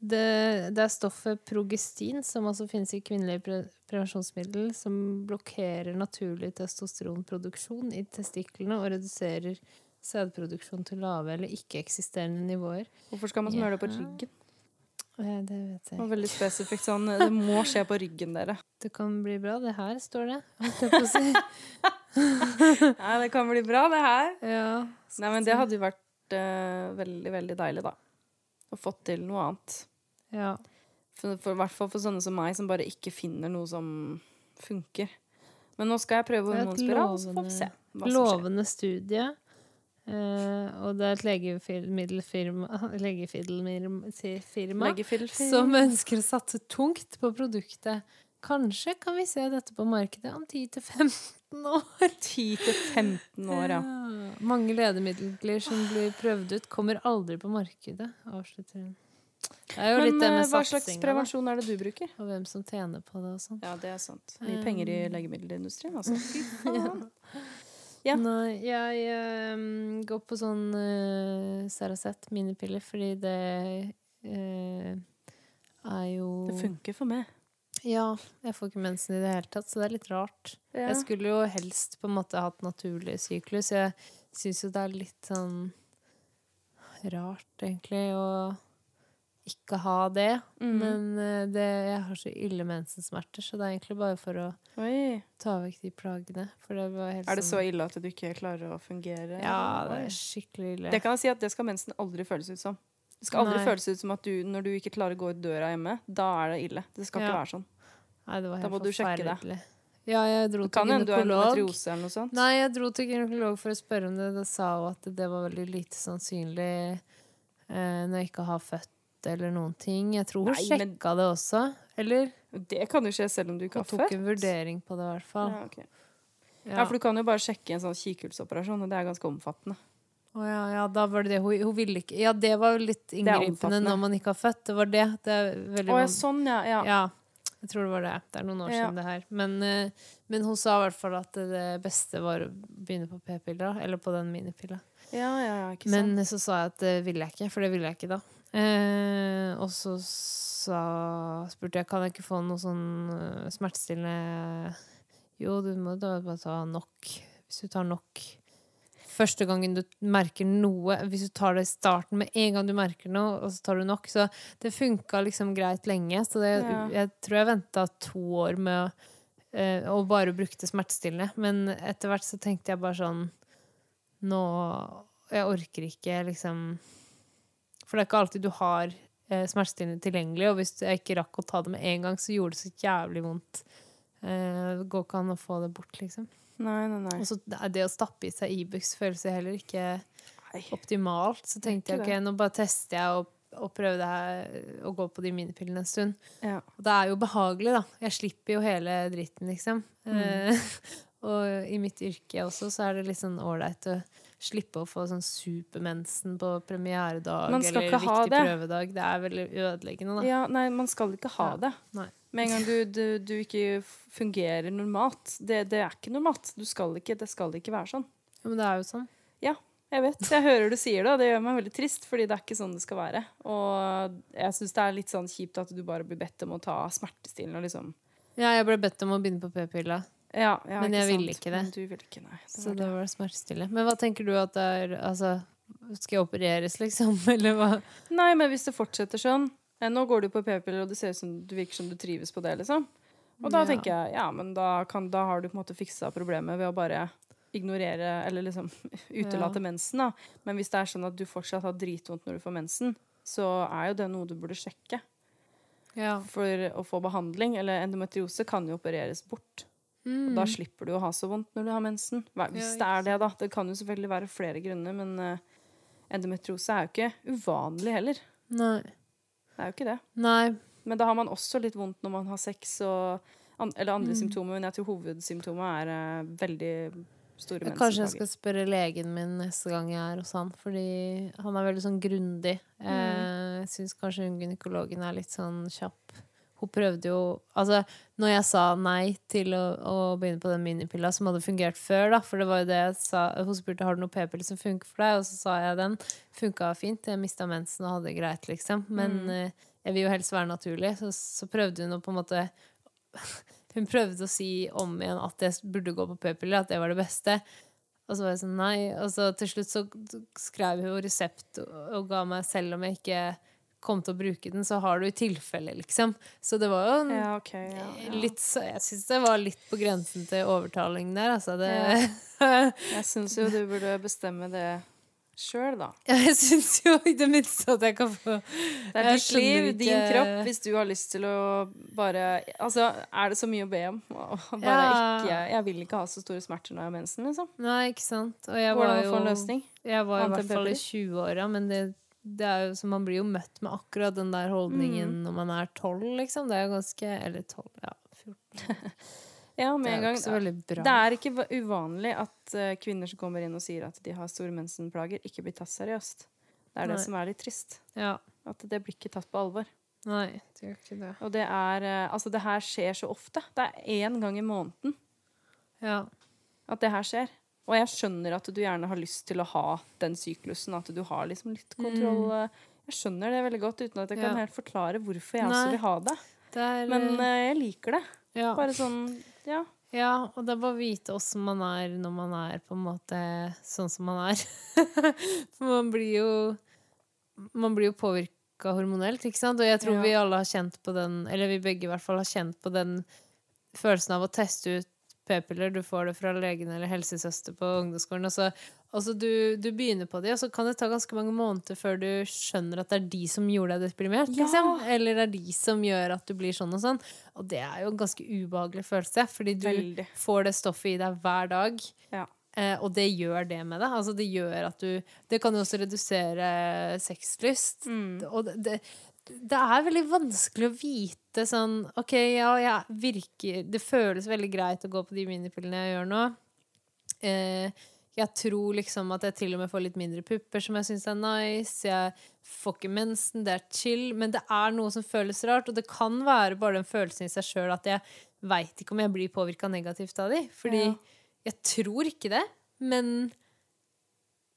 B: Det, det er stoffet progestin, som også finnes i kvinnelige pre prevensjonsmiddel, som blokkerer naturlig testosteronproduksjon i testiklene og reduserer sædproduksjon til lave eller ikke-eksisterende nivåer.
A: Hvorfor skal man smøre det på
B: Ja.
A: ryggen?
B: Eh, Det vet
A: Det
B: jeg.
A: var veldig spesifikt sånn. Det må skje på ryggen, dere.
B: Det kan bli bra. Det her står det. holdt jeg på å si.
A: Nei, det kan bli bra, det her.
B: Ja.
A: Nei, men det
B: sånn.
A: hadde jo vært eh, veldig, veldig deilig, da. Å fått til noe annet.
B: ja.
A: For, for, I hvert fall for sånne som meg, som bare ikke finner noe som funker. Men nå skal jeg prøve
B: Det er et
A: hormonspiral, så får vi se hva som skjer.
B: Lovende studie. Eh, og det er et legemiddelfirma Legefirma
A: Leggefill-
B: som ønsker å satse tungt på produktet. Kanskje kan vi se dette på markedet om 10-15 år.
A: 10 til 15 år, ja.
B: Ja. Mange ledemidler som blir prøvd ut, kommer aldri på markedet, avslutter hun. Det er jo
A: Men
B: litt det
A: eh,
B: med
A: hva slags
B: satsinga, da,
A: prevensjon er det du bruker?
B: og hvem som tjener på det og sånn.
A: Ja, det er sant. Mye penger
B: Um,
A: i legemiddelindustrien, altså. Fy faen. Ja.
B: Nei, jeg ehm, går på sånn uh, Saracet minipiller fordi det eh, er jo
A: Det funker for meg.
B: Ja, jeg får ikke mensen i det hele tatt, så det er litt rart.
A: Ja.
B: Jeg skulle jo helst på en måte hatt naturlig syklus. Jeg syns jo det er litt sånn rart, egentlig, å ikke ha det.
A: Mm.
B: Men eh, det, jeg har så ille mensensmerter, så det er egentlig bare for å
A: Oi.
B: ta vekk de plagene. For det var helt
A: Er det så
B: sånn
A: ille at du ikke klarer å fungere?
B: Ja, det
A: Oi.
B: er skikkelig ille.
A: Det kan jeg si at det skal mensen aldri føles ut som. Det skal aldri
B: Nei.
A: føles ut som at du, når du ikke klarer å gå ut døra hjemme, da er det ille. Det skal
B: Ja.
A: ikke være sånn.
B: Nei, det var
A: Da
B: helt
A: må du sjekke det.
B: forferdelig. Ja, jeg dro
A: Det
B: til
A: kan hende du er
B: gynekolog.
A: endometriose eller noe sånt.
B: Nei, jeg dro til gynekolog for å spørre om det. Da sa hun at det var veldig lite sannsynlig eh, når jeg ikke har født eller noen ting. Jeg tror hun
A: Nei,
B: sjekka
A: men-
B: det også. Eller
A: Det kan jo skje selv om du ikke
B: hun
A: har
B: tok
A: født.
B: en vurdering på det, i hvert fall.
A: Ja, ok.
B: Ja.
A: ja, for du kan jo bare sjekke en sånn kikhulsoperasjon, og det er ganske omfattende.
B: Å ja, ja, da var det det. Hun, hun ville ikke Ja, det var jo litt
A: er
B: inngripende
A: omfattende.
B: når man ikke har født. Det var det. Det er veldig
A: Å ja,
B: van-
A: sånn, ja. ja.
B: Ja, jeg tror det var det. Det er noen år
A: Ja.
B: siden det her. Men, eh, men hun sa i hvert fall at det beste var å begynne på p-piller, da, eller på den minipilla.
A: Ja, ja, ja, ikke sant.
B: Men så sa jeg at det ville jeg ikke, for det ville jeg ikke da. Eh, og så sa, spurte jeg kan jeg ikke få noe sånn eh, smertestillende Jo, du må da bare ta nok. Hvis du tar nok første gangen du merker noe Hvis du tar det i starten med en gang du merker noe, og så tar du nok Så det funka liksom greit lenge. Så det,
A: Ja.
B: jeg tror jeg venta to år med å eh, og bare brukte smertestillende. Men etter hvert så tenkte jeg bare sånn Nå Jeg orker ikke, liksom For det er ikke alltid du har eh, smertestillende tilgjengelig, og hvis jeg ikke rakk å ta det med en gang, så gjorde det så jævlig vondt. Eh, det går ikke an å få det bort, liksom.
A: Nei, nei, nei.
B: Og så er det å stappe i seg Ibux føles jo heller ikke
A: nei.
B: optimalt. Så tenkte jeg
A: Ikke
B: ok, nå bare tester jeg og, og prøver det her å gå på de minipillene en stund.
A: Ja.
B: Og det er jo behagelig, da. Jeg slipper jo hele dritten, liksom.
A: Mm.
B: Eh, og i mitt yrke også så er det litt sånn ålreit å slippe å få sånn supermensen på premieredag
A: Man skal
B: eller
A: ikke
B: viktig
A: ha det.
B: prøvedag. Det er veldig ødeleggende, da.
A: ja, nei, man skal ikke ha
B: Ja.
A: det.
B: Nei.
A: Med en gang du, du, du ikke fungerer normalt. Det, det er ikke normalt. Du skal ikke, det skal ikke være sånn.
B: Men det er jo sånn.
A: Jeg vet, jeg hører du sier det, og det gjør meg veldig trist, fordi det er ikke sånn det skal være. Og jeg syns det er litt sånn kjipt at du bare blir bedt om å ta smertestillende og liksom
B: Ja, jeg ble bedt om å begynne på p-pilla.
A: ja, ja,
B: Men jeg
A: sant?
B: ville ikke det.
A: Men du ville ikke, nei. Det
B: Så
A: var
B: da
A: det.
B: var det smertestillende. Men hva tenker du at det er Altså, skal jeg opereres, liksom? Eller hva?
A: Nei, men hvis det fortsetter sånn eh, Nå går du på p-piller, og det ser ut som du virker som du trives på det, liksom. Og da
B: Ja.
A: tenker jeg ja, men da, kan, da har du på en måte fiksa problemet ved å bare ignorere eller liksom utelate
B: Ja.
A: mensen, da. Men hvis det er sånn at du fortsatt har dritvondt når du får mensen, så er jo det noe du burde sjekke.
B: Ja.
A: for å få behandling, eller endometriose, kan jo opereres bort.
B: Mm.
A: Og da slipper du å ha så vondt når du har mensen. Hva- Hvis
B: Ja,
A: det er det, da. Det kan jo selvfølgelig være flere grunner, men eh, endometriose er jo ikke uvanlig heller.
B: Nei.
A: Det er jo ikke det.
B: Nei.
A: Men da har man også litt vondt når man har sex og an eller
B: Mm.
A: andre symptomer. Men jeg tror hovedsymptomet er eh, veldig store
B: Kanskje jeg
A: mensenplager.
B: skal spørre legen min neste gang jeg er hos han, fordi han er veldig sånn grundig. Eh, Jeg syns kanskje hun gynekologen er litt sånn kjapp. Hun prøvde jo Altså, når jeg sa nei til å, å begynne på den minipilla som hadde fungert før, da, for det var jo det jeg sa Hun spurte har du noen p-pille som funker for deg, og så sa jeg den. Funka fint. Jeg mista mensen og hadde det greit, liksom. Men eh, jeg vil jo helst være naturlig, så, så prøvde hun å på en måte hun prøvde å si om igjen at jeg burde gå på p-piller, at det var det beste. Og så var jeg sånn nei. Og så til slutt så skrev hun jo resept og, og ga meg, selv om jeg ikke kom til å bruke den, så har du i tilfelle, liksom. Så det var jo en,
A: Ja, ok. Ja, ja.
B: litt så Jeg syns det var litt på grensen til overtaling der, altså. Det,
A: Jeg syns jo du burde bestemme det sjøl, da.
B: jeg syns jo i det minste at jeg kan få
A: Det er
B: Jeg
A: ditt liv,
B: skjønner
A: din
B: ikke-
A: kropp, hvis du har lyst til å bare Altså, er det så mye å be om? Å, Bare
B: Ja.
A: ikke Jeg vil ikke ha så store smerter når jeg har mensen, liksom.
B: Nei, ikke sant. Og jeg
A: Hvordan
B: var
A: å få en
B: jo
A: løsning?
B: Jeg var i
A: Annet
B: hvert
A: enn
B: fall i
A: pepper?
B: 20-åra, men det, det er jo, så man blir jo møtt med akkurat den der holdningen
A: Mm.
B: når man er 12, liksom. Det er jo ganske Eller 12, ja. 14.
A: Ja,
B: Det
A: med en
B: er jo
A: gang.
B: ikke så veldig bra.
A: Det er ikke va- uvanlig at eh, kvinner som kommer inn og sier at de har store mensenplager, ikke blir tatt seriøst. Det er
B: Nei.
A: det som er litt trist.
B: Ja.
A: At det blir ikke tatt på alvor.
B: Nei, det gjør ikke det.
A: Og det er eh, Altså, det her skjer så ofte. Det er én gang i måneden
B: Ja.
A: at det her skjer. Og jeg skjønner at du gjerne har lyst til å ha den syklusen, at du har liksom litt kontroll. Jeg skjønner det veldig godt, uten at jeg kan
B: Ja.
A: helt forklare hvorfor jeg også
B: Nei.
A: vil ha det.
B: Det er
A: Men
B: eh,
A: eh, jeg liker det.
B: ja.
A: Bare sånn Ja.
B: ja, og det er bare å vite åssen man er når man er på en måte sånn som man er. For man blir jo Man blir jo påvirka hormonelt, ikke sant? Og jeg tror
A: Ja.
B: vi alle har kjent på den, eller vi begge i hvert fall har kjent på den følelsen av å teste ut p-piller. Du får det fra legen eller helsesøster på ungdomsskolen. Og så, og så du, du begynner på de, og så kan det ta ganske mange måneder før du skjønner at det er de som gjorde deg deprimert.
A: Ja.
B: Liksom. Eller det er de som gjør at du blir sånn og sånn. Og det er jo en ganske ubehagelig følelse, fordi du
A: Veldig.
B: får det stoffet i deg hver dag.
A: Ja.
B: Eh, og det gjør det med deg. Altså, det gjør at du Det kan jo også redusere sexlyst. Og det, det, det er veldig vanskelig å vite sånn OK, ja, jeg virker Det føles veldig greit å gå på de minipillene jeg gjør nå. Eh, jeg tror liksom at jeg til og med får litt mindre pupper, som jeg syns er nice. Jeg får ikke mensen, det er chill. Men det er noe som føles rart, og det kan være bare den følelsen i seg sjøl at jeg veit ikke om jeg blir påvirka negativt av de. Fordi
A: Ja.
B: jeg tror ikke det, men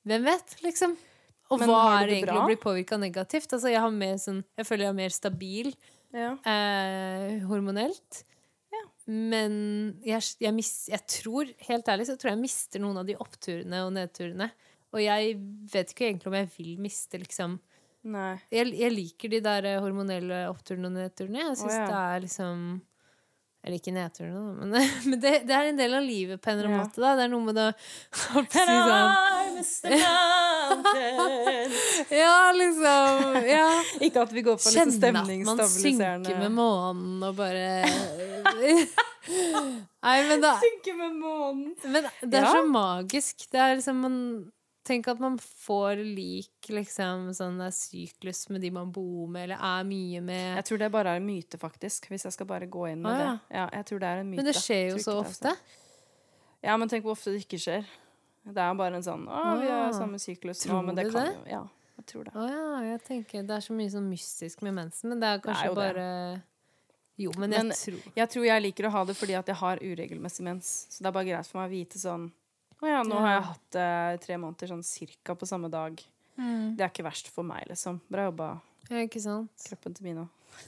B: hvem vet, liksom? Og
A: Men
B: hva
A: har du
B: er
A: det
B: egentlig
A: bra?
B: å bli påvirka negativt? Altså, jeg, har mer sånn, jeg føler jeg er mer stabil
A: ja.
B: eh, hormonelt. Men jeg, jeg, mis, jeg tror, helt ærlig, så tror jeg jeg mister noen av de oppturene og nedturene. Og jeg vet ikke egentlig om jeg vil miste, liksom
A: Nei.
B: Jeg, jeg liker de der eh, hormonelle oppturene og nedturene. Jeg syns
A: Å, ja.
B: det er liksom Eller ikke nedturene, da, men, men det, det er en del av livet på en eller annen
A: Ja.
B: måte. Da. Det er noe med det å sånn, Ja, liksom. Ja.
A: Ikke at vi går for litt
B: Kjenne at man
A: stemningsstabiliserende
B: synker med månen og bare Nei, men, da,
A: Synker med månen.
B: men det er
A: Ja.
B: så magisk. Det er liksom man Tenk at man får lik liksom, sånn der syklus med de man bor med, eller er mye med.
A: Jeg tror det bare er en myte, faktisk. Hvis jeg skal bare gå inn med
B: Å, ja.
A: det. Ja, jeg tror det er en myte.
B: Men det skjer
A: Jeg
B: jo så
A: tror ikke det er
B: ofte.
A: sant. Ja, men tenk hvor ofte det ikke skjer. Det er bare en sånn Å, vi har
B: Ah.
A: samme syklus nå,
B: Tror
A: men det
B: du
A: kan
B: det?
A: jo Ja, jeg tror det.
B: Å ja, jeg tenker Det er så mye sånn mystisk med mensen, men det er
A: er
B: kanskje
A: jo det.
B: bare Jo, men jeg
A: Men-
B: tror
A: Jeg tror jeg liker å ha det fordi at jeg har uregelmessig mens. Så det er bare greit for meg å vite sånn Å ja, nå har jeg hatt det tre måneder sånn cirka på samme dag. Det er ikke verst for meg, liksom. Bra jobba,
B: Ja, ikke sant?
A: kroppen til Mina.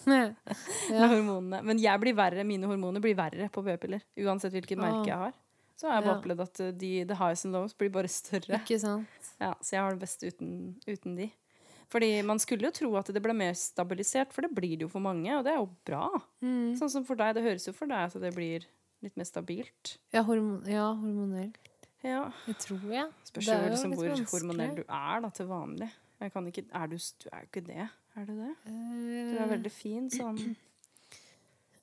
B: Ja.
A: med hormonene. Men jeg blir verre, mine hormoner blir verre på p-piller. Uansett hvilket merke jeg har. Så har jeg bare
B: Ah. Ja.
A: opplevd at uh, de, the highs and lows blir bare større.
B: Ikke sant?
A: Ja, så jeg har det best uten, uten de. Fordi man skulle jo tro at det ble mer stabilisert, for det blir det jo for mange, og det er jo bra.
B: Mm.
A: Sånn som for deg, det høres jo for deg at det blir litt mer stabilt.
B: Ja, hormon, ja hormonell.
A: Ja.
B: Jeg tror jeg.
A: Spørs jo
B: Det er jo
A: liksom
B: litt
A: hvor
B: vanskelig.
A: hormonell du er da til vanlig. Jeg kan ikke, er du, s- du er jo ikke det. Er du det? Du
B: Mm.
A: er veldig fin sånn.
B: Eh,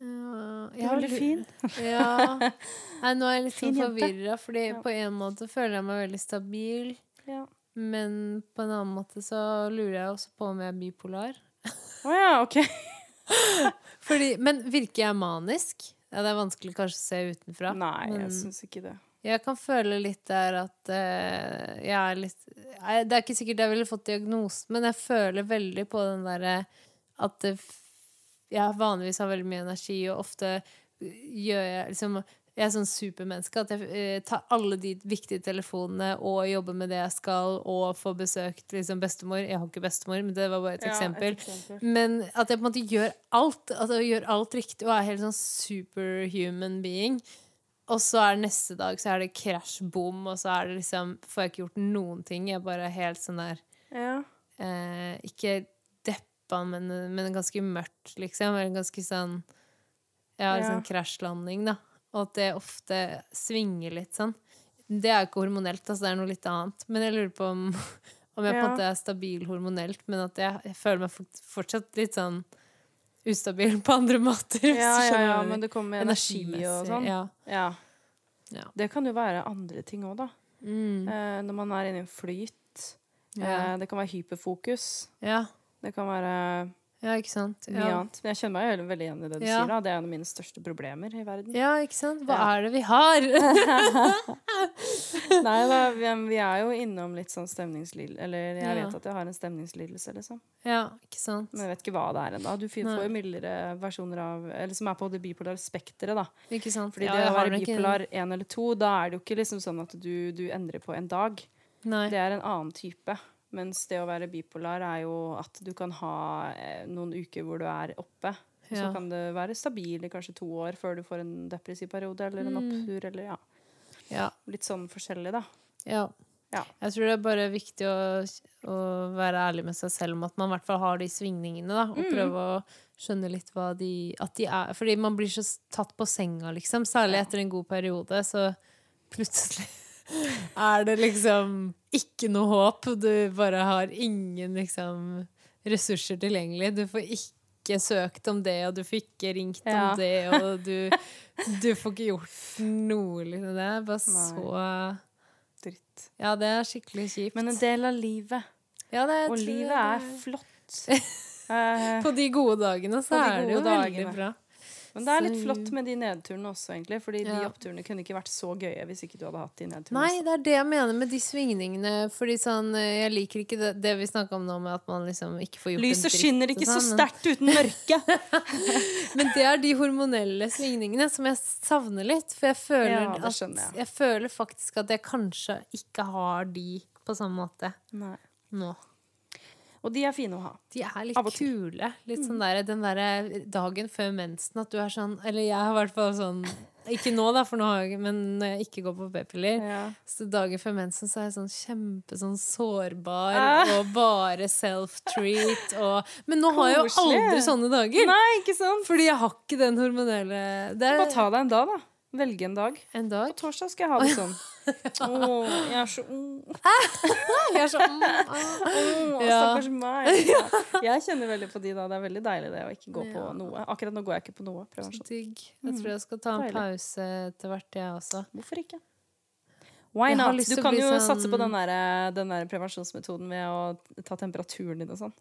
B: Ja,
A: Du er veldig fin.
B: Ja. Nei, nå er jeg litt
A: Fin
B: sånn
A: jente.
B: forvirra, fordi på en måte føler jeg meg veldig stabil.
A: Ja.
B: Men på en annen måte så lurer jeg også på om jeg er bipolar.
A: Å ja, ok.
B: Fordi, men virker jeg manisk? Ja, det er vanskelig kanskje å se utenfra.
A: Nei, jeg
B: men-
A: syns ikke det.
B: Jeg kan føle litt der at eh, jeg er litt Nei, Det er ikke sikkert jeg ville fått diagnosen, men jeg føler veldig på den derre at det, f- jeg vanligvis har veldig mye energi, og ofte eh, gjør jeg liksom Jeg er sånn supermenneske at jeg eh, tar alle de viktige telefonene og jobber med det jeg skal, og får besøkt liksom bestemor. Jeg har ikke bestemor, men det var bare et
A: Ja, et
B: eksempel.
A: eksempel.
B: Men at jeg på en måte gjør alt At jeg gjør alt riktig og er helt sånn superhuman being. Og så er det neste dag så er det krasj, bom, og så er det liksom får jeg ikke gjort noen ting. Jeg er bare helt sånn der
A: Ja.
B: eh, Ikke deppa, men, men ganske mørkt, liksom. Eller ganske sånn Ja,
A: Ja.
B: sånn krasjlanding, da. Og at det ofte svinger litt sånn. Det er jo ikke hormonelt, altså det er noe litt annet. Men jeg lurer på om, om jeg
A: Ja.
B: på en måte er stabil hormonelt, men at jeg, jeg føler meg fort- fortsatt litt sånn ustabil på andre måter. hvis
A: Ja,
B: du
A: ja,
B: skjønner
A: ja,
B: hva jeg
A: men
B: mener.
A: det kommer med energi og sånn.
B: Ja.
A: Ja.
B: Ja.
A: Det kan jo være andre ting òg, da.
B: Mm.
A: Eh, når man er inne i en flyt.
B: Ja.
A: Eh, det kan være hyperfokus.
B: ja.
A: Det kan være
B: Ja, ikke sant.
A: mye
B: Ja.
A: annet. Men jeg kjenner meg jo veldig igjen i det du
B: Ja.
A: sier. da. Det er en av mine største problemer i verden.
B: ja, ikke sant. Hva
A: Ja.
B: er det vi har?
A: Nei da, vi, vi er jo innom litt sånn stemningslidelse Eller jeg
B: Ja.
A: vet at jeg har en stemningslidelse, liksom.
B: ja, ikke sant.
A: Men jeg vet ikke hva det er ennå. Du fin-
B: Nei.
A: får jo mildere versjoner av Eller som er på det bipolare spekteret, da.
B: Ikke sant?
A: Fordi
B: Ja,
A: det
B: jeg
A: å
B: har
A: være
B: nok en-
A: bipolar én eller to, da er det jo ikke liksom sånn at du, du endrer på en dag.
B: Nei.
A: Det er en annen type. Mens det å være bipolar er jo at du kan ha eh, noen uker hvor du er oppe. og Så
B: Ja.
A: kan det være stabil i kanskje to år før du får en depressiv periode eller en
B: Mm.
A: opptur. Eller, ja.
B: Ja.
A: Litt sånn forskjellig, da.
B: Ja.
A: Ja.
B: Jeg tror det er bare viktig å, å være ærlig med seg selv om at man i hvert fall har de svingningene, da,
A: Mm.
B: og prøve å skjønne litt hva de At de er Fordi man blir så tatt på senga, liksom. Særlig etter en god periode, så plutselig er det liksom ikke noe håp. Du bare har ingen liksom ressurser tilgjengelig. Du får ikke søkt om det, og du får ikke ringt om
A: Ja.
B: det, og du, du får ikke gjort noe, liksom. Det er bare så
A: Dritt.
B: ja, det er skikkelig kjipt.
A: Men en del av livet.
B: ja, det, jeg
A: Og
B: tror
A: livet
B: det
A: er flott. Eh,
B: På de gode dagene så
A: På de
B: er det jo
A: gode dagene.
B: veldig bra.
A: men det er litt
B: så-
A: flott med de nedturene også, egentlig. Fordi de
B: Ja.
A: oppturene kunne ikke vært så gøye hvis ikke du hadde hatt de nedturene.
B: Nei, det er det jeg mener med de svingningene. Fordi sånn, eh, Jeg liker ikke det, det vi snakka om nå, med at man liksom ikke får gjort en
A: Lyset
B: dritt
A: skinner ikke
B: og
A: så
B: sånn, men-
A: sterkt uten mørke.
B: Men det er de hormonelle svingningene som jeg savner litt. For jeg føler,
A: Ja, det skjønner
B: at,
A: jeg.
B: jeg føler faktisk at jeg kanskje ikke har de på samme måte
A: Nei.
B: nå.
A: Og de er fine å ha.
B: De er
A: Av og
B: litt
A: til. Mm.
B: kule. Litt sånn der, den derre dagen før mensen at du er sånn Eller jeg har i hvert fall sånn Ikke nå, da, for nå har jeg ikke Men når jeg ikke går på p-piller Så dagen før mensen så er jeg sånn kjempe sånn sårbar
A: Ah.
B: og bare self-treat og Men nå har jeg jo
A: Koselig.
B: aldri sånne dager!
A: Nei, ikke sant?
B: Fordi jeg har ikke den hormonelle Det
A: Bare
B: er
A: ta deg en dag, da. Velge en dag.
B: en
A: På
B: dag.
A: torsdag skal jeg ha det sånn. Åh, jeg er så åh,
B: Jeg er sånn mm, ah.
A: åh,
B: Ja.
A: Stakkars meg. Jeg kjenner veldig på de da. Det er veldig deilig det å ikke gå på
B: Ja.
A: noe. Akkurat nå går jeg ikke på noe. sånn.
B: Så
A: Prevensjon.
B: Digg. Jeg tror jeg skal ta en
A: Deilig.
B: pause etter hvert, jeg også.
A: Hvorfor ikke? Why
B: Jeg har
A: not?
B: lyst
A: Du
B: til å
A: kan
B: bli
A: jo
B: sånn-
A: satse på den der, eh, den der prevensjonsmetoden med å ta temperaturen din og sånn.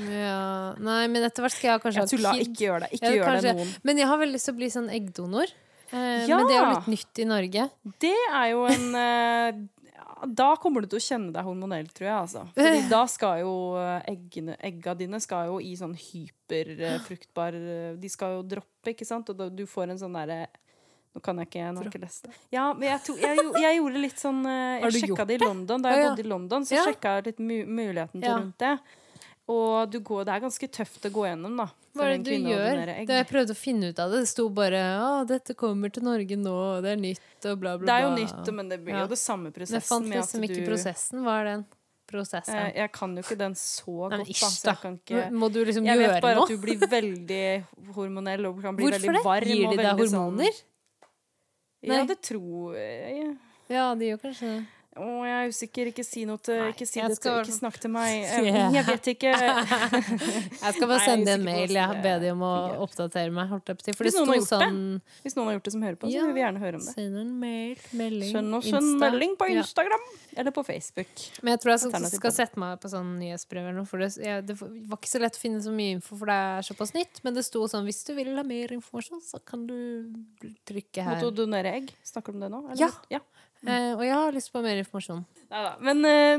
B: Ja. Nei, men etter hvert skal jeg kanskje
A: Jeg tulla.
B: ha kid.
A: Ikke gjør det. Ikke
B: Ja,
A: gjør det
B: kanskje.
A: noen.
B: Men jeg har veldig lyst til å bli sånn eggdonor. Eh,
A: Ja!
B: Men det er jo litt nytt i Norge.
A: Det er jo en eh, ja, Da kommer du til å kjenne deg hormonell, tror jeg. Altså. Fordi da skal jo eh, eggene, egga dine skal jo i sånn hyperfruktbar eh, De skal jo droppe, ikke sant? Og da, du får en sånn derre nå kan jeg ikke, nå har jeg ikke lest det. Ja, men jeg, to, jeg, gjo- jeg gjorde litt sånn eh,
B: Har du
A: Jeg sjekka
B: gjort
A: det i London. Da
B: Å,
A: jeg
B: ja.
A: bodde i London, så
B: Ja.
A: sjekka jeg litt mu muligheten til
B: Ja.
A: rundt det. Og du går, det er ganske tøft å gå gjennom, da. for
B: Hva er
A: en
B: det
A: kvinne
B: du
A: å
B: gjør?
A: donere egg.
B: Da jeg prøvde å finne ut av det, det sto bare å, dette kommer til Norge nå, og det er nytt og bla, bla, bla.
A: Det er jo nytt, men det blir
B: Ja.
A: jo det samme
B: Men jeg
A: prosessen
B: fant
A: med
B: liksom
A: at
B: ikke
A: du
B: prosessen. Hva er den prosessen?
A: Eh, Jeg kan jo ikke den så
B: Nei,
A: godt,
B: men
A: da,
B: ish,
A: så
B: da.
A: jeg kan ikke
B: Må du liksom
A: Jeg vet
B: gjøre
A: bare
B: noe?
A: at du blir veldig hormonell og kan bli
B: Hvorfor
A: veldig
B: det?
A: varm.
B: Gir
A: og
B: de deg
A: veldig sånn-
B: hormoner?
A: Ja,
B: Nei.
A: det tror jeg.
B: Ja, de gjør kanskje det.
A: Å, jeg er usikker. Ikke si noe til
B: Nei,
A: Ikke, si
B: jeg
A: det til,
B: skal-
A: ikke snakk til meg. Eh,
B: Ja.
A: Jeg vet ikke.
B: Jeg skal
A: Nei,
B: bare
A: jeg er
B: sende deg
A: usikker
B: en
A: på
B: mail.
A: hvordan
B: Jeg
A: det
B: ber deg om å
A: fungerer.
B: oppdatere meg. Holdt jeg på å si. For det
A: Hvis noen
B: sto
A: har gjort det.
B: sånn
A: Hvis noen har gjort det som hører på, så
B: Ja.
A: vil vi gjerne høre om det.
B: Send en mail, melding,
A: Send oss en
B: Insta.
A: melding på
B: Ja.
A: Instagram eller på Facebook.
B: Men jeg tror jeg skal,
A: Alternativ
B: skal
A: på
B: sette meg på sånn nyhetsbrev eller noe. For det, jeg, det var ikke så lett å finne så mye info, for det er såpass nytt. Men det sto sånn hvis du vil ha mer informasjon, så kan du trykke her.
A: Måtte du donere egg? Snakker du om det nå? eller?
B: Ja.
A: ja.
B: Eh, og jeg har lyst på mer informasjon.
A: Neida. Men eh,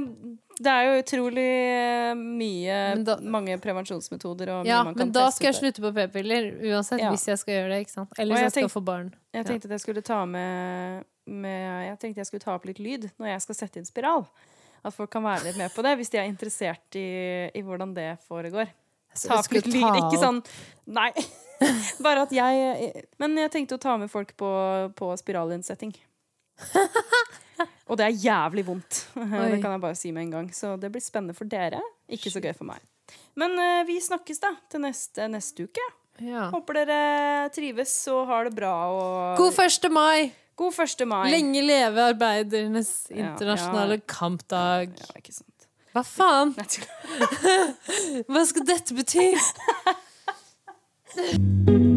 A: det er jo utrolig eh, mye
B: Men da-
A: Mange prevensjonsmetoder og mye
B: Ja,
A: man kan
B: men da
A: teste
B: skal jeg
A: ut der.
B: slutte på p-piller uansett
A: Ja.
B: hvis jeg skal gjøre det. ikke sant? Eller
A: Og
B: hvis
A: jeg
B: jeg skal
A: tenk-
B: få barn.
A: Jeg tenkte at jeg skulle ta med, med Jeg tenkte jeg skulle ta opp litt lyd når jeg skal sette inn spiral. At folk kan være litt med på det hvis de er interessert i, i hvordan det foregår.
B: Så
A: Ta
B: jeg
A: opp
B: Altså, skulle
A: litt lyd,
B: ta
A: ikke sånn
B: opp-
A: Nei. Bare at jeg Men jeg tenkte å ta med folk på, på spiralinnsetting. Og det er jævlig vondt. Det
B: Oi.
A: kan jeg bare si med en gang. Så det blir spennende for dere. Ikke så gøy for meg. Men eh, vi snakkes da til neste, neste uke.
B: Ja.
A: Håper dere trives og har det bra. Og
B: God 1. mai!
A: God 1. mai.
B: Lenge leve arbeidernes
A: Ja,
B: internasjonale kampdag.
A: Ja, ikke sant.
B: Hva faen?
A: Nei, tull.
B: Hva skal dette bety?